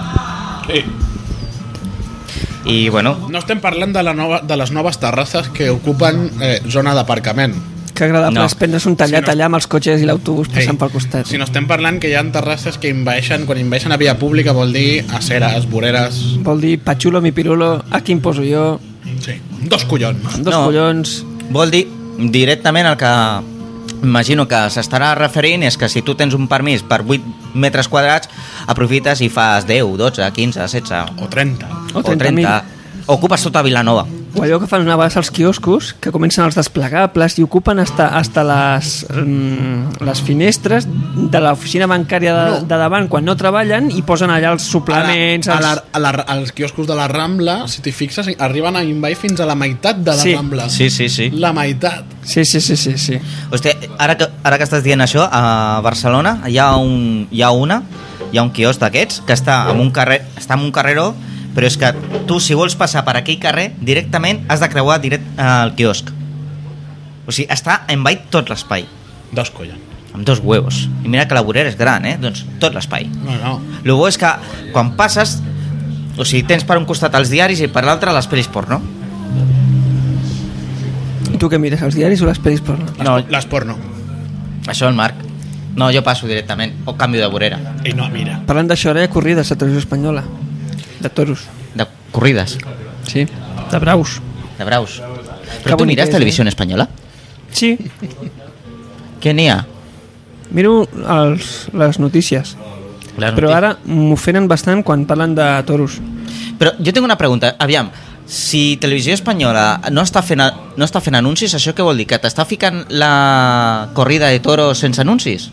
[SPEAKER 1] Sí.
[SPEAKER 2] I bueno,
[SPEAKER 1] Eh, No estem parlant de, la nova, de les noves terrasses que ocupen eh, zona d'aparcament.
[SPEAKER 3] Que agradable
[SPEAKER 2] No.
[SPEAKER 3] no. es prendre's un tallat
[SPEAKER 1] Si no-
[SPEAKER 3] allà amb els cotxes i l'autobús passant pel costat.
[SPEAKER 1] Si no estem parlant que hi ha terrasses que envaeixen, quan envaeixen a via pública vol dir aceres, voreres...
[SPEAKER 3] Vol dir patxulo mi pirulo, aquí em poso jo,
[SPEAKER 1] Sí, dos collons.
[SPEAKER 3] dos
[SPEAKER 2] No.
[SPEAKER 3] no. collons...
[SPEAKER 2] Vol dir directament el que imagino que s'estarà referint és que si tu tens un permís per 8 metres quadrats, aprofites i fas 10, 12, 15, 16
[SPEAKER 1] O 30.
[SPEAKER 3] O 30.000.
[SPEAKER 2] Ocupes tota Vilanova.
[SPEAKER 3] O allò que fan una vegada als quioscos, que comencen els desplegables i ocupen hasta, hasta les, mm, les finestres de l'oficina bancària de, de davant quan no treballen i posen allà els suplements...
[SPEAKER 1] a la,
[SPEAKER 3] els...
[SPEAKER 1] a la, als quioscos de la Rambla, si t'hi fixes, arriben a envair fins a la meitat de la
[SPEAKER 3] Sí.
[SPEAKER 1] Rambla.
[SPEAKER 2] Sí, sí, sí.
[SPEAKER 1] La meitat.
[SPEAKER 3] Sí, sí, sí, sí, sí.
[SPEAKER 2] Hòstia, ara que, ara que estàs dient això, a Barcelona hi ha, un, hi ha una, hi ha un quiosc d'aquests que està en un, carrer, està en un carreró, però és que tu, si vols passar per aquell carrer, directament has de creuar direct eh, el quiosc. O sigui, està envaït tot l'espai.
[SPEAKER 1] Dos collons.
[SPEAKER 2] amb dos huevos. I mira que la vorera és gran, eh? Doncs tot l'espai.
[SPEAKER 1] No, no.
[SPEAKER 2] Lo bo és que quan passes, o sigui, tens per un costat els diaris i per l'altre les pel·lis porno.
[SPEAKER 3] I tu què mires, els diaris o les pel·lis porno?
[SPEAKER 1] Les,
[SPEAKER 2] No.
[SPEAKER 1] no. les porno.
[SPEAKER 2] Això el Marc. No, jo passo directament, o canvio de vorera,
[SPEAKER 1] I no, mira.
[SPEAKER 3] Parlant d'això, ara hi ha corrides a televisió espanyola. De toros.
[SPEAKER 2] de corrides,
[SPEAKER 3] Sí. De braus.
[SPEAKER 2] de braus.
[SPEAKER 3] Que
[SPEAKER 2] Però tu
[SPEAKER 3] bonic
[SPEAKER 2] mires
[SPEAKER 3] és, eh?
[SPEAKER 2] televisió en espanyola?
[SPEAKER 3] Sí.
[SPEAKER 2] Què n'hi ha?
[SPEAKER 3] Miro els, les notícies.
[SPEAKER 2] Les
[SPEAKER 3] Però
[SPEAKER 2] notícies.
[SPEAKER 3] ara m'ofenen bastant quan parlen de toros.
[SPEAKER 2] Però jo tinc una pregunta, aviam, si Televisió Espanyola no està fent, no està fent anuncis, això què vol dir? Que t'està ficant la corrida de toros sense anuncis?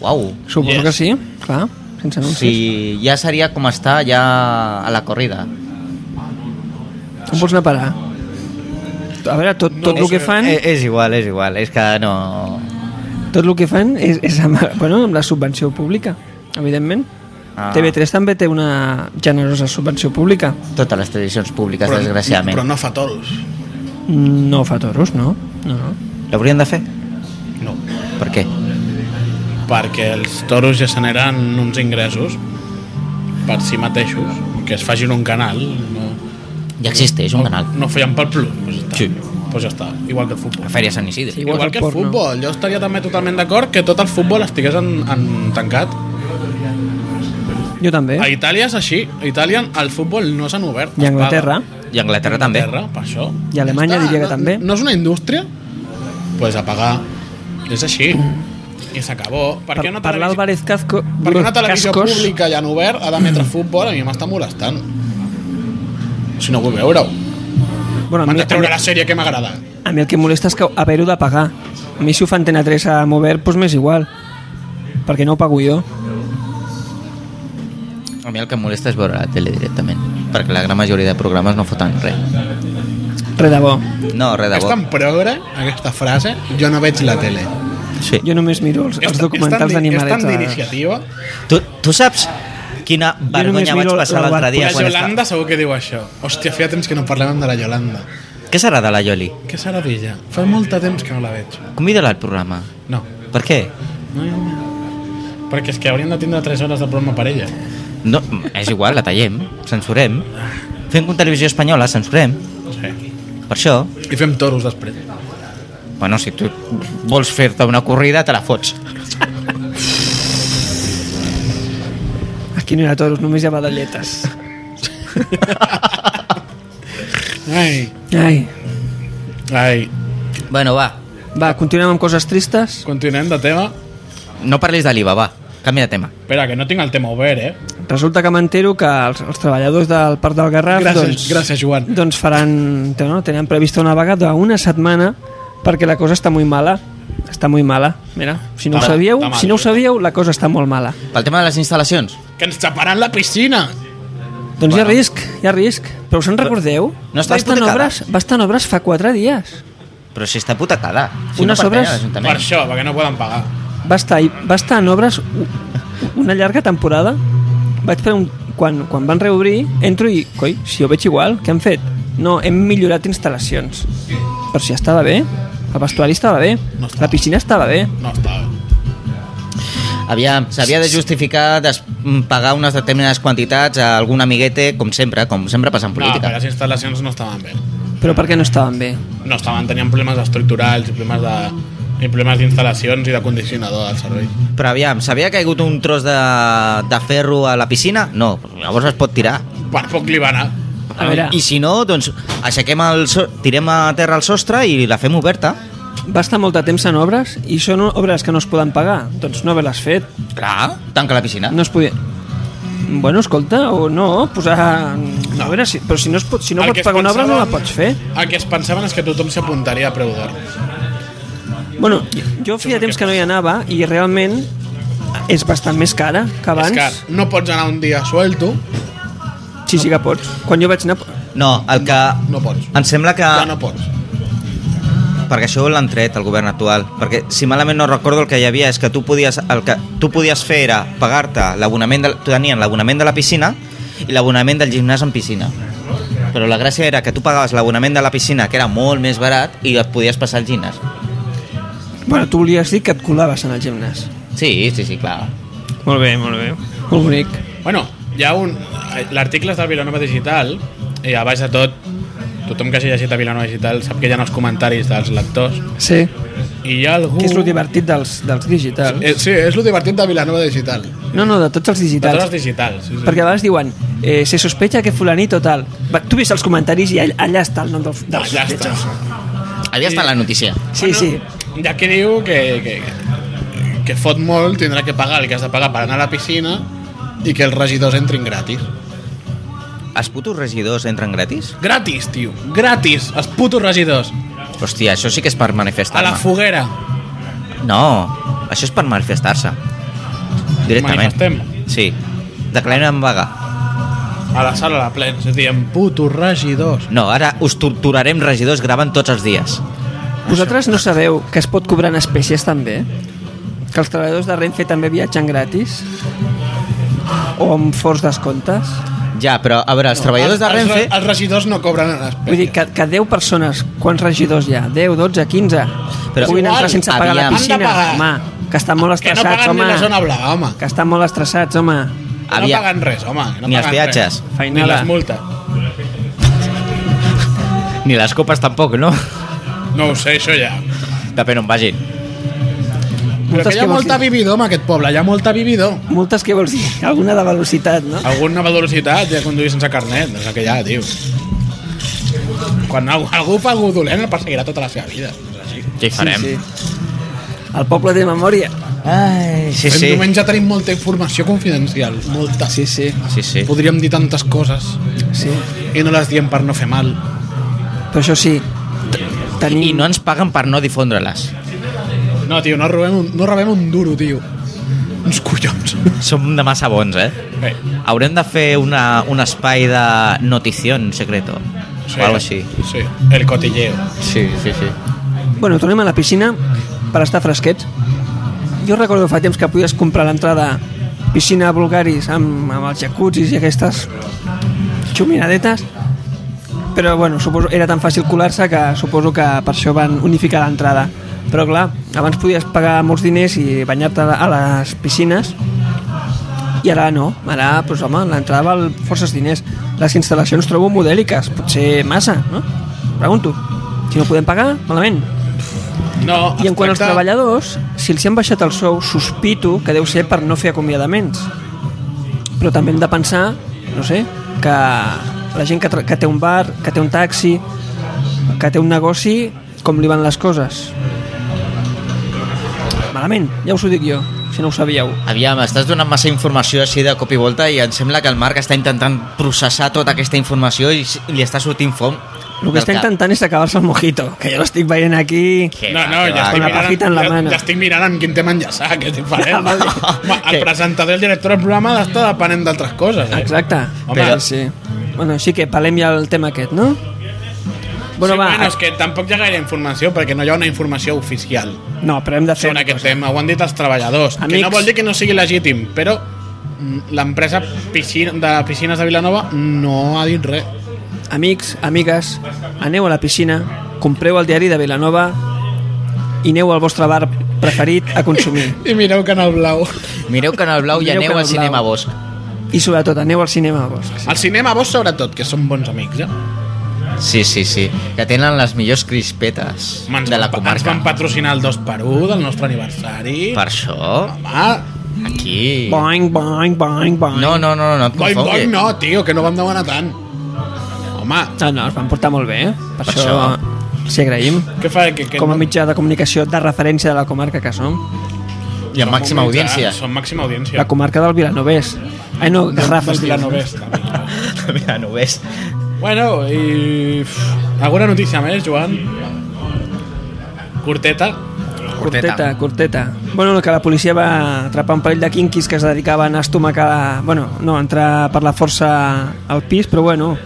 [SPEAKER 2] Uau,
[SPEAKER 3] Suposo
[SPEAKER 1] Yes.
[SPEAKER 3] que sí, clar, sense anuncis.
[SPEAKER 2] Sí, ja seria com està ja a la corrida.
[SPEAKER 3] On vols anar a parar? A veure, tot, tot el que fan,
[SPEAKER 2] Eh, és igual, és igual, és que no...
[SPEAKER 3] tot el que fan és, és amb, bueno, amb la subvenció pública, evidentment.
[SPEAKER 2] Ah.
[SPEAKER 3] Ah. TV3 també té una generosa subvenció pública.
[SPEAKER 2] Totes les tradicions públiques, però, desgraciadament.
[SPEAKER 1] Però
[SPEAKER 2] Però no.
[SPEAKER 1] no fa toros.
[SPEAKER 3] No fa toros, no? No, no.
[SPEAKER 2] L'haurien de fer?
[SPEAKER 1] No.
[SPEAKER 2] Per què?
[SPEAKER 1] Perquè els toros ja generen uns ingressos per si mateixos, que es facin un canal. No,
[SPEAKER 2] Ja existeix un canal.
[SPEAKER 1] no feien pel plus. Pues ja està.
[SPEAKER 2] Sí.
[SPEAKER 1] Pues ja està. Igual que el futbol.
[SPEAKER 2] La Fèria Sant Isidre.
[SPEAKER 3] Sí,
[SPEAKER 2] Sí.
[SPEAKER 1] Igual,
[SPEAKER 3] Igual que el
[SPEAKER 1] que el
[SPEAKER 3] porno.
[SPEAKER 1] futbol. Jo estaria també totalment d'acord que tot el futbol estigués en, en tancat.
[SPEAKER 3] Jo també.
[SPEAKER 1] A
[SPEAKER 3] Ai.
[SPEAKER 1] Itàlia és així. A Itàlia el futbol no s'han obert.
[SPEAKER 3] I a Anglaterra.
[SPEAKER 2] I Anglaterra també.
[SPEAKER 1] Terra, per això.
[SPEAKER 3] I a Alemanya
[SPEAKER 1] Ja està,
[SPEAKER 3] diria que
[SPEAKER 1] no,
[SPEAKER 3] també.
[SPEAKER 1] No és una indústria? Doncs pues a pagar. És així. I s'acabó. Per,
[SPEAKER 3] Per,
[SPEAKER 1] què no televisió-
[SPEAKER 3] parlar Álvarez Casco...
[SPEAKER 1] per què una televisió
[SPEAKER 3] Cascos,
[SPEAKER 1] pública ja en obert ha d'emetre futbol? A mi m'està molestant. Si no vull veure-ho.
[SPEAKER 3] Bueno, a,
[SPEAKER 1] M'han
[SPEAKER 3] mi,
[SPEAKER 1] de
[SPEAKER 3] a, mi,
[SPEAKER 1] treure la sèrie que m'agrada.
[SPEAKER 3] a mi el que em molesta és que haver-ho de pagar. A mi si ho fa Antena 3 a Mover, doncs m'és igual. Perquè no ho pago jo.
[SPEAKER 2] A mi el que em molesta és veure la tele directament, perquè la gran majoria de programes no foten res.
[SPEAKER 3] Res de bo.
[SPEAKER 2] No, res de
[SPEAKER 1] És
[SPEAKER 2] bo.
[SPEAKER 1] tan progre, aquesta frase, jo no veig la tele.
[SPEAKER 2] Sí.
[SPEAKER 3] Jo només miro els,
[SPEAKER 1] És
[SPEAKER 3] els
[SPEAKER 1] tan- és tan
[SPEAKER 3] documentals
[SPEAKER 1] di- És
[SPEAKER 3] d'animalets.
[SPEAKER 1] tan
[SPEAKER 3] a-
[SPEAKER 1] d'iniciativa.
[SPEAKER 2] Tu, tu saps quina vergonya
[SPEAKER 3] miro
[SPEAKER 2] vaig passar
[SPEAKER 3] la
[SPEAKER 2] l'altre dia
[SPEAKER 1] La
[SPEAKER 2] quan
[SPEAKER 1] Yolanda segur que diu això. Hòstia, feia temps que no parlàvem de la Yolanda.
[SPEAKER 2] estava... Què serà de la Yoli?
[SPEAKER 1] Què serà d'ella? Fa molt de temps que no la veig.
[SPEAKER 2] Convida-la al programa.
[SPEAKER 1] No.
[SPEAKER 2] Per què?
[SPEAKER 1] no hi ha... Perquè és que hauríem de tindre 3 hores de programa per ella.
[SPEAKER 2] No, és igual, la tallem, censurem. Fem con televisió espanyola, censurem.
[SPEAKER 1] Sí.
[SPEAKER 2] Per això,
[SPEAKER 1] I fem toros després.
[SPEAKER 2] bueno, si tu vols fer-te una corrida, te la fots.
[SPEAKER 3] Aquí no hi ha toros, només hi ha badalletes.
[SPEAKER 1] Ai.
[SPEAKER 3] Ai.
[SPEAKER 1] Ai.
[SPEAKER 2] Bueno, va,
[SPEAKER 3] Va, continuem amb coses tristes.
[SPEAKER 1] Continuem de tema.
[SPEAKER 2] no parlis de l'IVA, va. Canvia de tema.
[SPEAKER 1] Espera, que no tinc el tema obert, eh?
[SPEAKER 3] Resulta que m'entero que els, els treballadors del Parc del Garraf
[SPEAKER 1] Gràcies,
[SPEAKER 3] doncs,
[SPEAKER 1] gràcies, Joan.
[SPEAKER 3] doncs faran, no, tenen prevista una vaga d'una setmana perquè la cosa està molt mala està molt mala, mira, si no
[SPEAKER 1] Està
[SPEAKER 3] ho
[SPEAKER 1] mal,
[SPEAKER 3] sabíeu
[SPEAKER 1] està mal.
[SPEAKER 3] si no ho sabíeu, la cosa està molt mala
[SPEAKER 2] Pel tema de les instal·lacions.
[SPEAKER 1] Que ens taparan la piscina!
[SPEAKER 3] doncs hi ha risc, hi ha risc però us en recordeu?
[SPEAKER 2] no està
[SPEAKER 3] va, estar en
[SPEAKER 2] hipotecada.
[SPEAKER 3] obres, va estar en obres fa 4 dies
[SPEAKER 2] Però si està putacada. Si
[SPEAKER 3] Unes
[SPEAKER 2] no pertany
[SPEAKER 3] obres-
[SPEAKER 2] a
[SPEAKER 1] Per
[SPEAKER 2] l'Ajuntament.
[SPEAKER 1] això, perquè no poden pagar.
[SPEAKER 3] va estar, va estar en obres u- una llarga temporada vaig fer un, quan, quan van reobrir entro i, coi, si ho veig igual què han fet? No, hem millorat instal·lacions però si estava bé el vestuari estava bé,
[SPEAKER 1] No estava.
[SPEAKER 3] la piscina estava bé
[SPEAKER 1] No està bé.
[SPEAKER 2] Aviam, s'havia de justificar des, mm, pagar unes determinades quantitats a algun amiguete, com sempre, com sempre passa en
[SPEAKER 1] No,
[SPEAKER 2] política.
[SPEAKER 1] però les instal·lacions no estaven bé.
[SPEAKER 3] però per què no estaven bé?
[SPEAKER 1] No estaven, tenien problemes estructurals i problemes de i problemes d'instal·lacions i de condicionador del servei.
[SPEAKER 2] Però aviam, s'havia caigut un tros de, de ferro a la piscina? No, llavors es pot tirar.
[SPEAKER 1] Per poc li va anar.
[SPEAKER 3] A veure.
[SPEAKER 2] I si no, doncs aixequem el so tirem a terra el sostre i la fem oberta.
[SPEAKER 3] va estar molt de temps en obres i són obres que no es poden pagar doncs no haver-les fet
[SPEAKER 2] Clar, tanca la piscina.
[SPEAKER 3] no es podia bueno, escolta, o no, posar... No. A veure, si, però si no, es pot, si no
[SPEAKER 1] El
[SPEAKER 3] pots
[SPEAKER 1] que es
[SPEAKER 3] pagar una obra no la
[SPEAKER 1] pensaven-
[SPEAKER 3] pots fer.
[SPEAKER 1] El que es pensaven és que tothom s'apuntaria a preu d'or.
[SPEAKER 3] Bueno, jo feia temps que no hi anava i realment és bastant més cara que
[SPEAKER 1] És
[SPEAKER 3] abans.
[SPEAKER 1] que no pots anar un dia suelto,
[SPEAKER 3] Sí, sí que pots. Quan jo vaig anar...
[SPEAKER 2] No, el que...
[SPEAKER 1] no pots.
[SPEAKER 2] Em sembla que...
[SPEAKER 1] Ja no pots.
[SPEAKER 2] perquè això l'han tret el govern actual perquè si malament no recordo el que hi havia és que tu podies, el que tu podies fer era pagar-te l'abonament de- tu tenien l'abonament de la piscina i l'abonament del gimnàs en piscina però la gràcia era que tu pagaves l'abonament de la piscina que era molt més barat i et podies passar al gimnàs
[SPEAKER 3] Bueno, tu volies dir que et colaves en el gimnàs.
[SPEAKER 2] sí, sí, sí, clar
[SPEAKER 3] Molt bé, molt bé. Molt bonic.
[SPEAKER 1] Bueno, hi ha un... L'article és de Vilanova Digital i a baix de tot, tothom que hagi llegit a Vilanova Digital sap que hi ha els comentaris dels lectors
[SPEAKER 3] Sí.
[SPEAKER 1] i hi ha algú...
[SPEAKER 3] Que és lo divertit dels, dels digital.
[SPEAKER 1] Eh, Sí, és lo divertit de Vilanova Digital. De
[SPEAKER 3] No, no, de tots els
[SPEAKER 1] tots
[SPEAKER 3] digitals.
[SPEAKER 1] els digitals. Sí, sí.
[SPEAKER 3] Perquè a vegades diuen eh, se sospecha que fulanito tal. Va, tu ves els comentaris i all- allà està el nom del, del
[SPEAKER 1] Allà Ah, està.
[SPEAKER 2] havia estat la notícia
[SPEAKER 3] Sí, sí.
[SPEAKER 1] Ja que diu que, que, que fot molt, tindrà que pagar el que has de pagar per anar a la piscina i que els regidors entrin gratis.
[SPEAKER 2] els putos regidors entren gratis?
[SPEAKER 1] Gratis, tio. Gratis. Els putos regidors.
[SPEAKER 2] hòstia, això sí que és per
[SPEAKER 1] A la
[SPEAKER 2] manifestar-me
[SPEAKER 1] foguera.
[SPEAKER 2] no, això és per manifestar-se directament
[SPEAKER 1] Manifestem.
[SPEAKER 2] sí, declarem en vaga
[SPEAKER 1] A la sala de plens. Diem putos regidors.
[SPEAKER 2] No, ara us torturarem regidors graven tots els dies.
[SPEAKER 3] Vosaltres no sabeu que es pot cobrar en espècies també? Que els treballadors de Renfe també viatgen gratis? O amb forts descomptes?
[SPEAKER 2] Ja, però a veure, els treballadors de
[SPEAKER 1] Els-
[SPEAKER 2] Renfe...
[SPEAKER 1] Els, els regidors no cobren en espècie.
[SPEAKER 3] Vull dir, que, que 10 persones, quants regidors hi ha? 10, 12, 15?
[SPEAKER 2] Però-
[SPEAKER 3] Però Puguin
[SPEAKER 1] Igual,
[SPEAKER 3] entrar sense pagar
[SPEAKER 2] aviam.
[SPEAKER 3] la piscina?
[SPEAKER 1] Han de pagar.
[SPEAKER 3] Home, que estan
[SPEAKER 1] que
[SPEAKER 3] molt
[SPEAKER 1] no
[SPEAKER 3] estressats,
[SPEAKER 1] paguen ni
[SPEAKER 3] home.
[SPEAKER 1] la zona blava, home.
[SPEAKER 3] Que estan molt estressats, home.
[SPEAKER 1] Que no
[SPEAKER 2] Aviam.
[SPEAKER 1] paguen res, home. que No
[SPEAKER 2] Ni els
[SPEAKER 1] paguen
[SPEAKER 2] peatges.
[SPEAKER 1] res.
[SPEAKER 3] Feinada.
[SPEAKER 1] Ni les multes.
[SPEAKER 2] Ni les copes tampoc, no?
[SPEAKER 1] No ho sé, això ja.
[SPEAKER 2] Depèn on vagin.
[SPEAKER 1] Però que hi ha
[SPEAKER 3] vols
[SPEAKER 1] molta
[SPEAKER 3] dir?
[SPEAKER 1] vividor en aquest poble, hi ha molta vividor.
[SPEAKER 3] Multes que vols dir? Alguna de velocitat, no?
[SPEAKER 1] Alguna velocitat ja conduir sense carnet, és el que hi ha, tio. Quan algú, algú fa algú dolent el perseguirà tota la seva vida. És així.
[SPEAKER 2] Què hi farem?
[SPEAKER 3] Sí, sí. El poble té memòria.
[SPEAKER 2] Ai, sí,
[SPEAKER 1] Sí,
[SPEAKER 2] sí.
[SPEAKER 1] Diumenge tenim molta informació confidencial, molta.
[SPEAKER 3] Sí, sí,
[SPEAKER 2] Sí, sí.
[SPEAKER 1] Podríem dir tantes coses
[SPEAKER 3] sí.
[SPEAKER 1] i no les diem per no fer mal.
[SPEAKER 3] Però això sí, t- tenim...
[SPEAKER 2] I no ens paguen per no difondre-les.
[SPEAKER 1] No, tio, no rebem un, no rebem un duro, tio. Uns collons.
[SPEAKER 2] Som de massa bons, eh?
[SPEAKER 1] Bé,
[SPEAKER 2] Haurem de fer una, un espai de notició secreto. O algo així.
[SPEAKER 1] Sí, el cotilleo.
[SPEAKER 2] Sí, sí, sí.
[SPEAKER 3] Bueno, tornem a la piscina per estar fresquets. Jo recordo fa temps que podies comprar l'entrada piscina vulgaris amb, amb els jacuzzis i aquestes xumiradetes però bueno, suposo, era tan fàcil colar-se que suposo que per això van unificar l'entrada però clar, abans podies pagar molts diners i banyar-te a les piscines i ara no, ara doncs, home, l'entrada val forces diners les instal·lacions trobo modèliques potser massa, no? pregunto si no podem pagar, malament
[SPEAKER 1] No,
[SPEAKER 3] i en quant als
[SPEAKER 1] abstracte-
[SPEAKER 3] treballadors, si els hi han baixat el sou, sospito que deu ser per no fer acomiadaments. Però també hem de pensar, no sé, que la gent que, tra- que té un bar, que té un taxi, que té un negoci, com li van les coses. Malament, ja us ho dic jo, si no ho sabíeu.
[SPEAKER 2] Aviam, estàs donant massa informació així de cop i volta i em sembla que el Marc està intentant processar tota aquesta informació i s- li està sortint fom.
[SPEAKER 3] El que està intentant és acabar-se el mojito, que jo l'estic veient aquí...
[SPEAKER 2] Eh,
[SPEAKER 1] No, no, ja
[SPEAKER 3] Amb
[SPEAKER 1] estic,
[SPEAKER 3] la
[SPEAKER 1] mirant,
[SPEAKER 3] pajita en la
[SPEAKER 1] ja,
[SPEAKER 3] mano.
[SPEAKER 1] ja estic mirant amb quin tema enllaçar, que és diferent.
[SPEAKER 3] Ah, vale.
[SPEAKER 1] Home, el
[SPEAKER 2] Que-
[SPEAKER 1] presentador i el director del programa ha d'estar depenent d'altres coses. Eh?
[SPEAKER 3] Exacte.
[SPEAKER 1] Home,
[SPEAKER 3] Home, sí. Bueno, així que palem ja el tema aquest, no?
[SPEAKER 1] Bueno, sí, va, bueno, és que tampoc hi ha gaire informació perquè no hi ha una informació oficial
[SPEAKER 3] No, però hem de fer...
[SPEAKER 1] sobre aquest tema. Ho han dit els treballadors. Que
[SPEAKER 3] Amics.
[SPEAKER 1] no vol dir que no sigui legítim, però mm, l'empresa piscina, de piscines de Vilanova no ha dit res.
[SPEAKER 3] Amics, amigues, aneu a la piscina, compreu el diari de Vilanova i aneu al vostre bar preferit a consumir.
[SPEAKER 1] I mireu Canal Blau.
[SPEAKER 2] Mireu Canal Blau i
[SPEAKER 3] Mireu
[SPEAKER 2] aneu
[SPEAKER 3] Canal
[SPEAKER 2] al cinema
[SPEAKER 3] Blau.
[SPEAKER 2] Bosch.
[SPEAKER 3] I sobretot, aneu al cinema Bosch.
[SPEAKER 1] Al cinema vos sobretot, que són bons amics, eh?
[SPEAKER 2] Sí, sí, sí. Que tenen les millors crispetes
[SPEAKER 1] Home, Ens
[SPEAKER 2] de la
[SPEAKER 1] van, pa- ens
[SPEAKER 2] comarca.
[SPEAKER 1] van patrocinar el 2 per 1 del nostre aniversari.
[SPEAKER 2] Per això,
[SPEAKER 1] Home,
[SPEAKER 2] aquí...
[SPEAKER 3] Boing, boing, boing, boing.
[SPEAKER 2] No, no, no, no et
[SPEAKER 1] Boing,
[SPEAKER 2] confongui.
[SPEAKER 1] boing, no, tio, que no vam demanar tant. Home,
[SPEAKER 3] No, no, es van portar molt bé, eh? Per,
[SPEAKER 2] Per
[SPEAKER 3] per això, això els hi agraïm.
[SPEAKER 1] què fa? Que, que
[SPEAKER 3] Com a
[SPEAKER 1] no-
[SPEAKER 3] mitjà de comunicació de referència de la comarca que som.
[SPEAKER 2] I amb màxima
[SPEAKER 1] Som mitjà-
[SPEAKER 2] audiència.
[SPEAKER 1] Som màxima audiència.
[SPEAKER 3] La comarca del Vilanovès. Ai, no, Garrafes.
[SPEAKER 1] Del Vilanovès, també.
[SPEAKER 2] Mira, no ho ves.
[SPEAKER 1] Bueno, i... pff, Alguna notícia més, Joan? Curteta?
[SPEAKER 3] Corteta, corteta. Bueno, que la policia va atrapar un parell de quinquis que es dedicaven a estomacar... Bueno, no, a entrar per la força al pis, però bueno,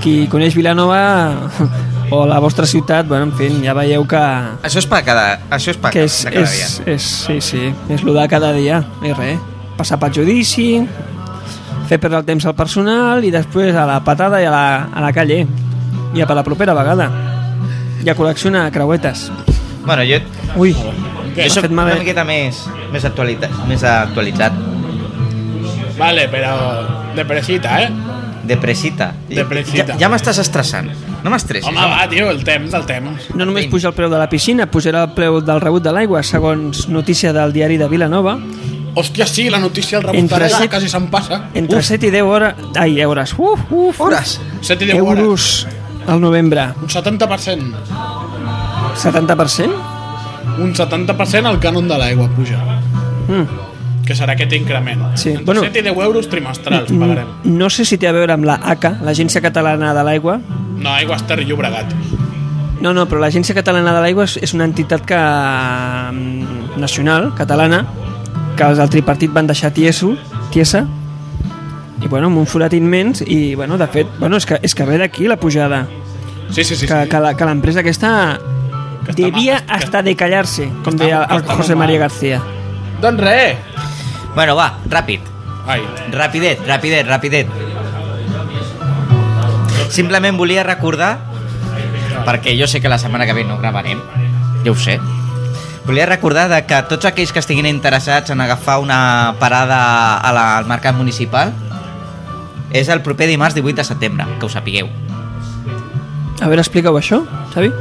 [SPEAKER 3] qui coneix Vilanova o la vostra ciutat, bueno, en fi, ja veieu que,
[SPEAKER 2] Això és per cada, això és per
[SPEAKER 3] que és,
[SPEAKER 2] de cada
[SPEAKER 3] és, és, sí, sí, és lo de cada dia, és res. Passar pel judici, fer perdre el temps al personal i després a la patada i a la, a la calle. I a per la propera vegada. I a col·leccionar creuetes.
[SPEAKER 2] dia. Bueno, jo,
[SPEAKER 3] Ui,
[SPEAKER 1] Què?
[SPEAKER 2] jo
[SPEAKER 3] m'ha
[SPEAKER 2] soc
[SPEAKER 3] fet mal,
[SPEAKER 2] una
[SPEAKER 3] eh?
[SPEAKER 2] miqueta més, més, actualitat, més actualitzat.
[SPEAKER 1] Vale, però... De presita, eh?
[SPEAKER 2] De presita.
[SPEAKER 1] De presita.
[SPEAKER 2] Ja, ja m'estàs estressant. No m'estressis.
[SPEAKER 1] Home, va, tio, el temps, el temps.
[SPEAKER 3] No només puja el preu de la piscina, pujarà el preu del rebut de l'aigua, segons notícia del diari de Vilanova.
[SPEAKER 1] Hòstia, sí, la notícia el
[SPEAKER 3] Entre
[SPEAKER 1] remuntarà,
[SPEAKER 3] set-
[SPEAKER 1] quasi se'n passa.
[SPEAKER 3] Entre
[SPEAKER 2] Uf.
[SPEAKER 3] Uf. 7 i 10 hores... Ai, euros. Uf, uf, uf.
[SPEAKER 2] Hores.
[SPEAKER 1] 7 i 10 hores.
[SPEAKER 3] Euros al novembre.
[SPEAKER 1] Un 70%.
[SPEAKER 3] 70%?
[SPEAKER 1] Un 70% al cànon de l'aigua puja.
[SPEAKER 3] Mm.
[SPEAKER 1] Que serà aquest increment.
[SPEAKER 3] Sí,
[SPEAKER 1] Entre
[SPEAKER 3] bueno.
[SPEAKER 1] 7 i 10 euros trimestrals
[SPEAKER 3] Mm,
[SPEAKER 1] pagarem.
[SPEAKER 3] No sé si té a veure amb la ACA, l'Agència Catalana de l'Aigua.
[SPEAKER 1] No, aigua Ter Llobregat.
[SPEAKER 3] No, no, però l'Agència Catalana de l'Aigua és, és una entitat que, mm, nacional, catalana, que els del tripartit van deixar tieso, tiesa, i bueno, amb un forat immens, i bueno, de fet, bueno, és, que, és que ve d'aquí la pujada.
[SPEAKER 1] Sí, sí, sí.
[SPEAKER 3] que,
[SPEAKER 1] sí.
[SPEAKER 3] que la- que l'empresa aquesta
[SPEAKER 1] Que està
[SPEAKER 3] devia
[SPEAKER 1] mal, que-
[SPEAKER 3] hasta de callar-se, com
[SPEAKER 1] està-
[SPEAKER 3] deia
[SPEAKER 1] que
[SPEAKER 3] el
[SPEAKER 1] està
[SPEAKER 3] José
[SPEAKER 1] molt
[SPEAKER 3] María
[SPEAKER 1] mal.
[SPEAKER 3] García.
[SPEAKER 1] Doncs res.
[SPEAKER 2] Bueno, va, ràpid.
[SPEAKER 1] Ai,
[SPEAKER 2] Rapidet, rapidet, rapidet. Simplement volia recordar, perquè jo sé que la setmana que ve no gravarem, ja ho sé, volia recordar de que tots aquells que estiguin interessats en agafar una parada a la, al mercat municipal és el proper dimarts 18 de setembre, que ho sapigueu.
[SPEAKER 3] A veure, explica-ho això, Xavi.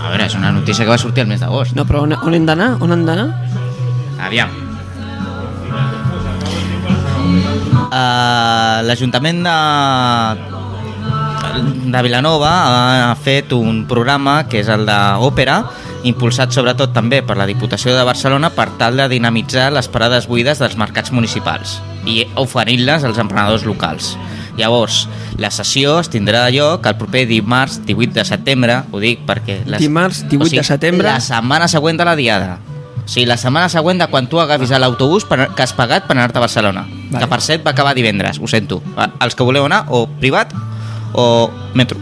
[SPEAKER 2] A veure, és una notícia que va sortir el mes d'agost.
[SPEAKER 3] No, però on, on hem d'anar? On hem d'anar?
[SPEAKER 2] Aviam. Uh, L'Ajuntament de, de Vilanova ha fet un programa que és el d'òpera, impulsat sobretot també per la Diputació de Barcelona per tal de dinamitzar les parades buides dels mercats municipals i oferir-les als emprenedors locals. Llavors, la sessió es tindrà lloc el proper dimarts 18 de setembre, ho dic perquè...
[SPEAKER 3] Dimarts 18 de setembre.
[SPEAKER 2] La setmana següent de la diada. O sigui, la setmana següent de quan tu agafis l'autobús per- que has pagat per anar-te a Barcelona.
[SPEAKER 3] Ah. Vale.
[SPEAKER 2] Que per cert va acabar divendres, ho sento. Va, Els que voleu anar, o privat, o metro.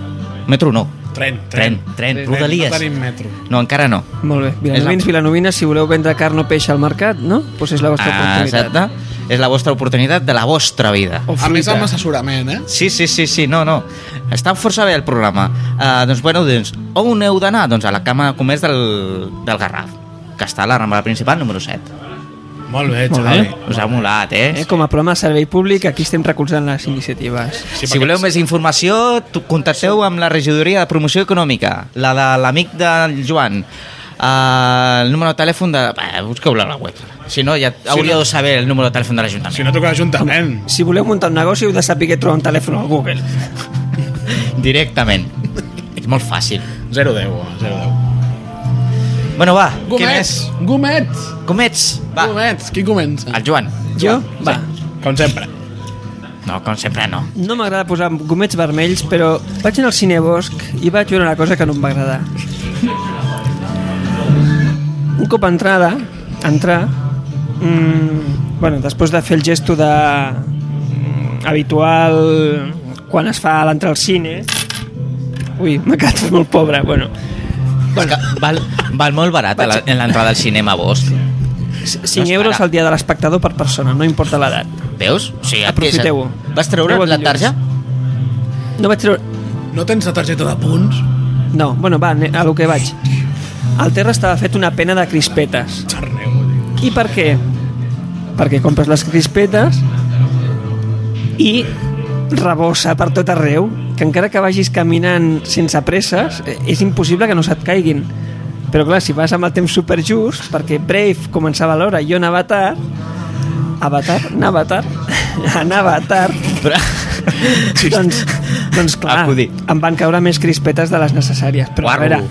[SPEAKER 2] Metro no.
[SPEAKER 1] tren,
[SPEAKER 2] Tren,
[SPEAKER 1] tren.
[SPEAKER 2] tren,
[SPEAKER 1] No
[SPEAKER 2] rodalies.
[SPEAKER 1] tenim metro.
[SPEAKER 2] No, encara no.
[SPEAKER 3] Molt bé. Vilanovins, vilanovines, si voleu vendre carn o peix al mercat, no? Doncs és la vostra
[SPEAKER 2] Ah,
[SPEAKER 3] oportunitat. Oh.
[SPEAKER 2] Exacte. És la vostra oportunitat de la vostra vida.
[SPEAKER 3] O
[SPEAKER 1] A més
[SPEAKER 3] fruita.
[SPEAKER 1] amb assessorament, eh?
[SPEAKER 2] Sí, sí, sí, sí, no, no. Està força bé el programa. Uh, doncs, bueno, doncs, on heu d'anar? Doncs a la cama de comerç del, del Garraf, que està a la Rambla Principal número 7.
[SPEAKER 1] Molt bé,
[SPEAKER 3] Molt
[SPEAKER 1] Xavi.
[SPEAKER 3] bé.
[SPEAKER 2] Us ha molat, eh?
[SPEAKER 3] Eh, com a programa de servei públic, aquí estem recolzant les iniciatives.
[SPEAKER 1] Sí,
[SPEAKER 2] Si
[SPEAKER 1] perquè-
[SPEAKER 2] voleu més informació, tu- contacteu amb la regidoria de promoció econòmica, la de l'amic del Joan. Uh, el número de telèfon de... Bé, busqueu-la a la web. Si no, ja hauríeu
[SPEAKER 1] no-
[SPEAKER 2] de saber el número de telèfon de l'Ajuntament.
[SPEAKER 1] Si no toca l'Ajuntament.
[SPEAKER 3] Si voleu muntar un negoci, heu de saber que trobar un telèfon al Google.
[SPEAKER 2] Directament. És molt fàcil.
[SPEAKER 1] 0-10, 0-10.
[SPEAKER 2] Bueno, va, què més?
[SPEAKER 1] Gomets! Gomets!
[SPEAKER 2] Com ets? Va,
[SPEAKER 1] Gomets! Qui comença?
[SPEAKER 2] el Joan.
[SPEAKER 3] Jo? Va.
[SPEAKER 1] Com sempre.
[SPEAKER 2] No, com sempre no.
[SPEAKER 3] No m'agrada posar gomets vermells, però vaig anar al cinebosc i vaig veure una cosa que no em va agradar. Un cop entrada, entrar, mm, bueno, després de fer el gesto de mm, habitual quan es fa a l'entrar al cine, ui, m'ha quedat molt pobre, bueno,
[SPEAKER 2] Bueno. És que val, val molt barat a la- en l'entrada al cinema, vos.
[SPEAKER 3] 5
[SPEAKER 2] No es
[SPEAKER 3] euros
[SPEAKER 2] para.
[SPEAKER 3] al dia de l'espectador per persona, no importa l'edat.
[SPEAKER 2] Veus? O sigui, et
[SPEAKER 3] Aprofiteu-ho.
[SPEAKER 2] queixes. Vas treure
[SPEAKER 3] Aneu al
[SPEAKER 2] la
[SPEAKER 3] dilluns.
[SPEAKER 2] tarja?
[SPEAKER 3] No vaig treure...
[SPEAKER 1] No tens la targeta de punts?
[SPEAKER 3] No, bueno, va, ne- a lo que vaig. Al terra estava fet una pena de crispetes. I per què? Perquè compres les crispetes i rebossa per tot arreu, que encara que vagis caminant sense presses, eh, és impossible que no se't caiguin. Però clar, si vas amb el temps superjust, perquè Brave començava a l'hora i jo anava tard, Avatar? Anava tard? Anava tard
[SPEAKER 2] Però...
[SPEAKER 3] doncs, doncs clar,
[SPEAKER 2] Acudit.
[SPEAKER 3] em van caure més crispetes de les necessàries. Però
[SPEAKER 2] Guarro.
[SPEAKER 3] a veure,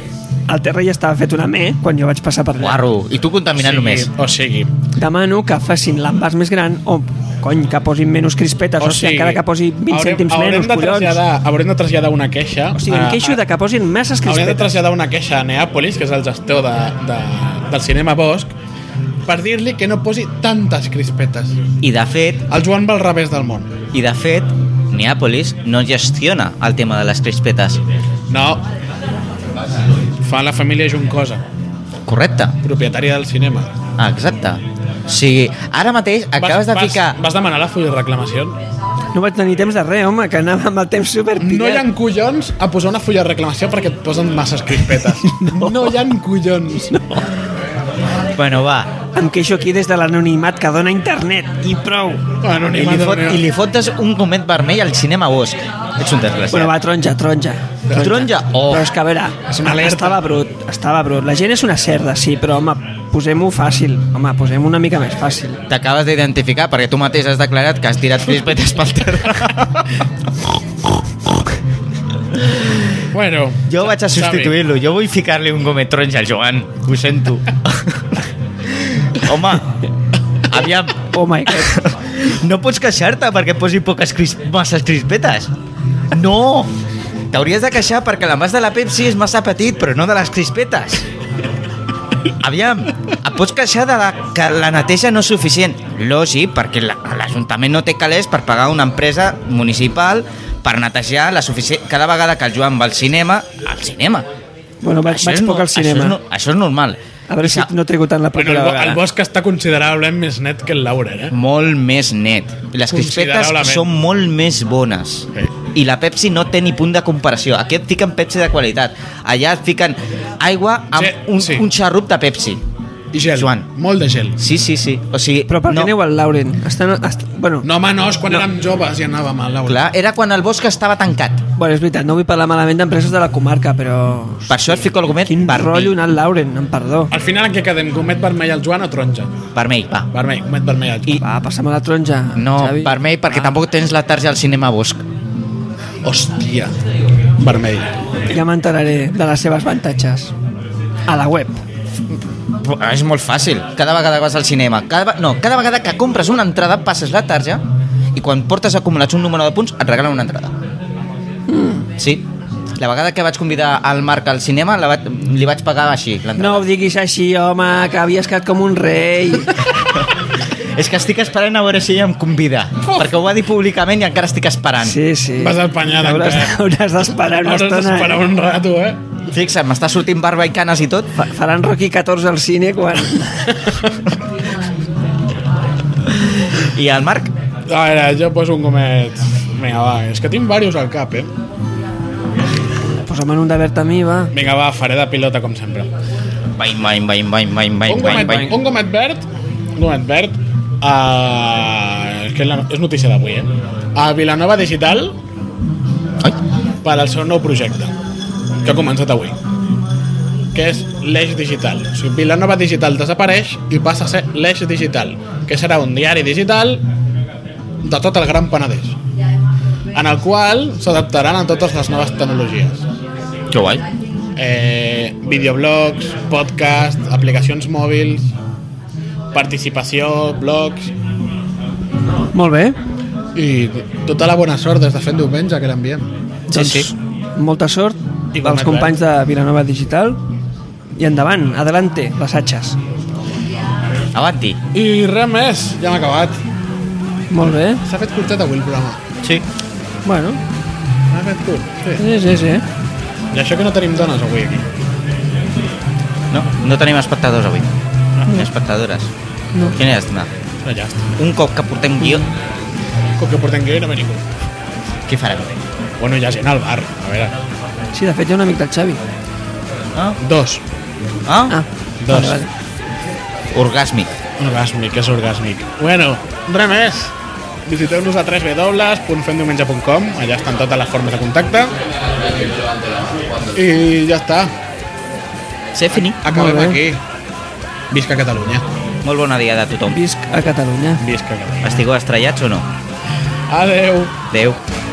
[SPEAKER 3] el terra ja estava fet una me quan jo vaig passar per allà.
[SPEAKER 2] Guarro, i tu contaminant sí. només.
[SPEAKER 1] O sigui,
[SPEAKER 3] Demano que facin l'envàs més gran o, cony, que posin menys crispetes.
[SPEAKER 1] o
[SPEAKER 3] O, o sigui,
[SPEAKER 1] sigui,
[SPEAKER 3] encara que posi 20
[SPEAKER 1] haurem,
[SPEAKER 3] cèntims
[SPEAKER 1] haurem
[SPEAKER 3] menys,
[SPEAKER 1] de
[SPEAKER 3] collons.
[SPEAKER 1] traslladar, haurem de traslladar una queixa.
[SPEAKER 3] O sigui, em queixo de que posin masses
[SPEAKER 1] Haurem de
[SPEAKER 3] crispetes.
[SPEAKER 1] traslladar una queixa a Neàpolis, que és el gestor de, de, del cinema Bosch, per dir-li que no posi tantes crispetes.
[SPEAKER 2] I de fet,
[SPEAKER 1] El Joan va al revés del món.
[SPEAKER 2] i de fet, Neàpolis no gestiona el tema de les crispetes.
[SPEAKER 1] No. Fa la família Juncosa,
[SPEAKER 2] Correcte.
[SPEAKER 1] propietària del cinema.
[SPEAKER 2] Ah, exacte. O sigui, ara mateix acabes de ficar...
[SPEAKER 1] Vas, vas demanar la full reclamació?
[SPEAKER 3] No vaig tenir temps de res, home, que anava amb el temps superpillat.
[SPEAKER 1] No hi ha collons a posar una fulla de reclamació perquè et posen masses crispetes. No, no hi ha collons. No.
[SPEAKER 2] Bueno, va.
[SPEAKER 3] Em queixo aquí des de l'anonimat que dona internet i prou.
[SPEAKER 1] Bueno,
[SPEAKER 2] I
[SPEAKER 1] ni
[SPEAKER 2] li,
[SPEAKER 1] madre
[SPEAKER 2] fot,
[SPEAKER 1] meva.
[SPEAKER 2] I li fotes un comet vermell al cinema Bosch. Ets un desgraciat.
[SPEAKER 3] Bueno, va, taronja, taronja.
[SPEAKER 2] Taronja? Oh.
[SPEAKER 3] Però és que, a veure,
[SPEAKER 1] És una alerta.
[SPEAKER 3] estava brut, estava brut. La gent és una cerda, sí, però, home, posem-ho fàcil. Home, posem-ho una mica més fàcil.
[SPEAKER 2] T'acabes d'identificar perquè tu mateix has declarat que has tirat crispetes pel terra.
[SPEAKER 1] Bueno,
[SPEAKER 2] Jo vaig a
[SPEAKER 1] Xavi,
[SPEAKER 2] substituir-lo. Jo vull ficar-li un gomet taronja al Joan. Ho sento. Home, aviam...
[SPEAKER 3] Oh my God.
[SPEAKER 2] No pots queixar-te perquè posi poques cris masses crispetes. No! T'hauries de queixar perquè l'envàs de la Pepsi és massa petit, però no de les crispetes. Aviam, et pots queixar de la, que la neteja no és suficient. Lògic, perquè la- l'Ajuntament no té calés per pagar una empresa municipal per netejar la suficient... Cada vegada que el Joan va al cinema, al cinema.
[SPEAKER 3] Bueno, vaig,
[SPEAKER 2] és
[SPEAKER 3] vaig poc
[SPEAKER 2] no-
[SPEAKER 3] al cinema.
[SPEAKER 2] Això és, no, això és normal.
[SPEAKER 3] A veure si
[SPEAKER 2] Sa-
[SPEAKER 3] no trigo tant la
[SPEAKER 1] Bueno, el,
[SPEAKER 3] propera
[SPEAKER 1] bo- el
[SPEAKER 3] vegada.
[SPEAKER 1] bosc està considerablement més net que el Laura, eh?
[SPEAKER 2] molt més net. Les crispetes
[SPEAKER 1] Considerablement.
[SPEAKER 2] són molt més bones.
[SPEAKER 1] Sí.
[SPEAKER 2] I la Pepsi no té ni punt de comparació. Aquí et fiquen Pepsi de qualitat. Allà et fiquen aigua amb
[SPEAKER 1] Sí,
[SPEAKER 2] un,
[SPEAKER 1] sí.
[SPEAKER 2] un xarrup de Pepsi.
[SPEAKER 1] I gel.
[SPEAKER 2] Joan.
[SPEAKER 1] eh? Molt de gel.
[SPEAKER 2] Sí, sí, sí. O sigui,
[SPEAKER 3] Però per què aneu al Lauren? Estan, est... bueno,
[SPEAKER 1] No, home, no, és quan no. érem joves i anàvem a Laura.
[SPEAKER 2] clar, era quan el bosc estava tancat.
[SPEAKER 3] bueno, és veritat, no vull parlar malament d'empreses de la comarca, però...
[SPEAKER 2] Per això et fico el gomet
[SPEAKER 3] Quin
[SPEAKER 2] vermell.
[SPEAKER 3] rotllo anar al Lauren, em perdó.
[SPEAKER 1] Al final en què quedem? Gomet vermell al Joan o taronja?
[SPEAKER 2] Vermell, va.
[SPEAKER 1] Vermell, gomet vermell al Joan.
[SPEAKER 2] I-
[SPEAKER 3] Va, passa'm a la taronja,
[SPEAKER 2] No,
[SPEAKER 3] Xavi. Ah.
[SPEAKER 2] vermell, perquè tampoc tens la tarja al cinema bosc.
[SPEAKER 1] I... Hòstia. Vermell.
[SPEAKER 3] Ja m'enteraré de les seves avantatges. A la web.
[SPEAKER 2] Ah, És molt fàcil. Cada vegada que vas al cinema, cada, ve- no, cada vegada que compres una entrada, passes la tarja i quan portes acumulats un número de punts et regalen una entrada. Sí. La vegada que vaig convidar al Marc al cinema, la va, li vaig pagar així, l'entrada.
[SPEAKER 3] No ho diguis així, home, que havies quedat com un rei.
[SPEAKER 2] És que estic esperant a veure si ella em convida, perquè ho va dir públicament i encara estic esperant.
[SPEAKER 3] Sí, sí.
[SPEAKER 1] Vas empenyat,
[SPEAKER 3] Hauràs,
[SPEAKER 1] encara.
[SPEAKER 3] hauràs d'esperar una
[SPEAKER 1] Hauràs
[SPEAKER 3] estona.
[SPEAKER 1] d'esperar un rato, eh?
[SPEAKER 2] Fixa't, m'està sortint barba i canes i tot.
[SPEAKER 3] Fa- Faran Rocky 14 al cine quan...
[SPEAKER 2] I el Marc?
[SPEAKER 1] A veure, jo poso un gomet... Vinga, va, és que tinc diversos al cap, eh?
[SPEAKER 3] Posa'm en un de verd a mi, va.
[SPEAKER 1] Vinga, va, faré de pilota, com sempre.
[SPEAKER 2] Baim, baim, baim, baim, baim,
[SPEAKER 1] un,
[SPEAKER 2] baim, baim,
[SPEAKER 1] gomet,
[SPEAKER 2] baim.
[SPEAKER 1] un gomet verd... Un gomet verd... Uh, és que és, la, és notícia d'avui, eh? A Vilanova Digital
[SPEAKER 2] Ai.
[SPEAKER 1] per al seu nou projecte, que ha començat avui, que és l'Eix Digital. O sigui, Vilanova Digital desapareix i passa a ser l'Eix Digital, que serà un diari digital de tot el Gran Penedès, en el qual s'adaptaran a totes les noves tecnologies.
[SPEAKER 2] Que guai.
[SPEAKER 1] Eh, videoblogs, podcast, aplicacions mòbils, participació, blogs
[SPEAKER 3] Molt bé.
[SPEAKER 1] i tota la bona sort des de fet diumenge que l'enviem.
[SPEAKER 2] Sí, sí.
[SPEAKER 3] Doncs Molta sort
[SPEAKER 1] I
[SPEAKER 3] als
[SPEAKER 1] gomet
[SPEAKER 3] companys de Vilanova Digital. I endavant, adelante, les atxes.
[SPEAKER 2] Avanti.
[SPEAKER 1] I res més, ja hem acabat.
[SPEAKER 3] Molt bé.
[SPEAKER 1] S'ha fet curtet avui el programa.
[SPEAKER 2] Sí.
[SPEAKER 3] Bueno,
[SPEAKER 1] S'ha fet curt, sí.
[SPEAKER 3] sí, sí, sí.
[SPEAKER 1] I això que no tenim dones avui aquí.
[SPEAKER 2] No, no tenim espectadors avui. Ni espectadores.
[SPEAKER 3] No.
[SPEAKER 2] Quina llàstima.
[SPEAKER 1] Però Ah, ja està.
[SPEAKER 2] Un cop que portem guió,
[SPEAKER 1] Com que portem guió i no ve ningú.
[SPEAKER 2] què farem?
[SPEAKER 1] Bueno, hi ha gent al bar, a veure.
[SPEAKER 3] Sí, de fet hi ha un amic del Xavi.
[SPEAKER 2] Ah?
[SPEAKER 1] Dos.
[SPEAKER 2] ah?
[SPEAKER 3] Ah,
[SPEAKER 1] Dos.
[SPEAKER 3] vale, vale.
[SPEAKER 2] Orgàsmic.
[SPEAKER 1] Orgàsmic, és orgàsmic. Bueno, res més. Visiteu-nos a www.fendiumenge.com Allà estan totes les formes de contacte. I ja està.
[SPEAKER 2] Ser fini.
[SPEAKER 1] Acabem
[SPEAKER 3] Molt
[SPEAKER 1] aquí.
[SPEAKER 3] bé.
[SPEAKER 1] Visca Catalunya.
[SPEAKER 2] Ah, Molt bona diada a tothom.
[SPEAKER 3] Visc a Catalunya.
[SPEAKER 1] Visca Catalunya.
[SPEAKER 2] Estigueu estrellats o no?
[SPEAKER 1] Adeu.
[SPEAKER 2] Adéu.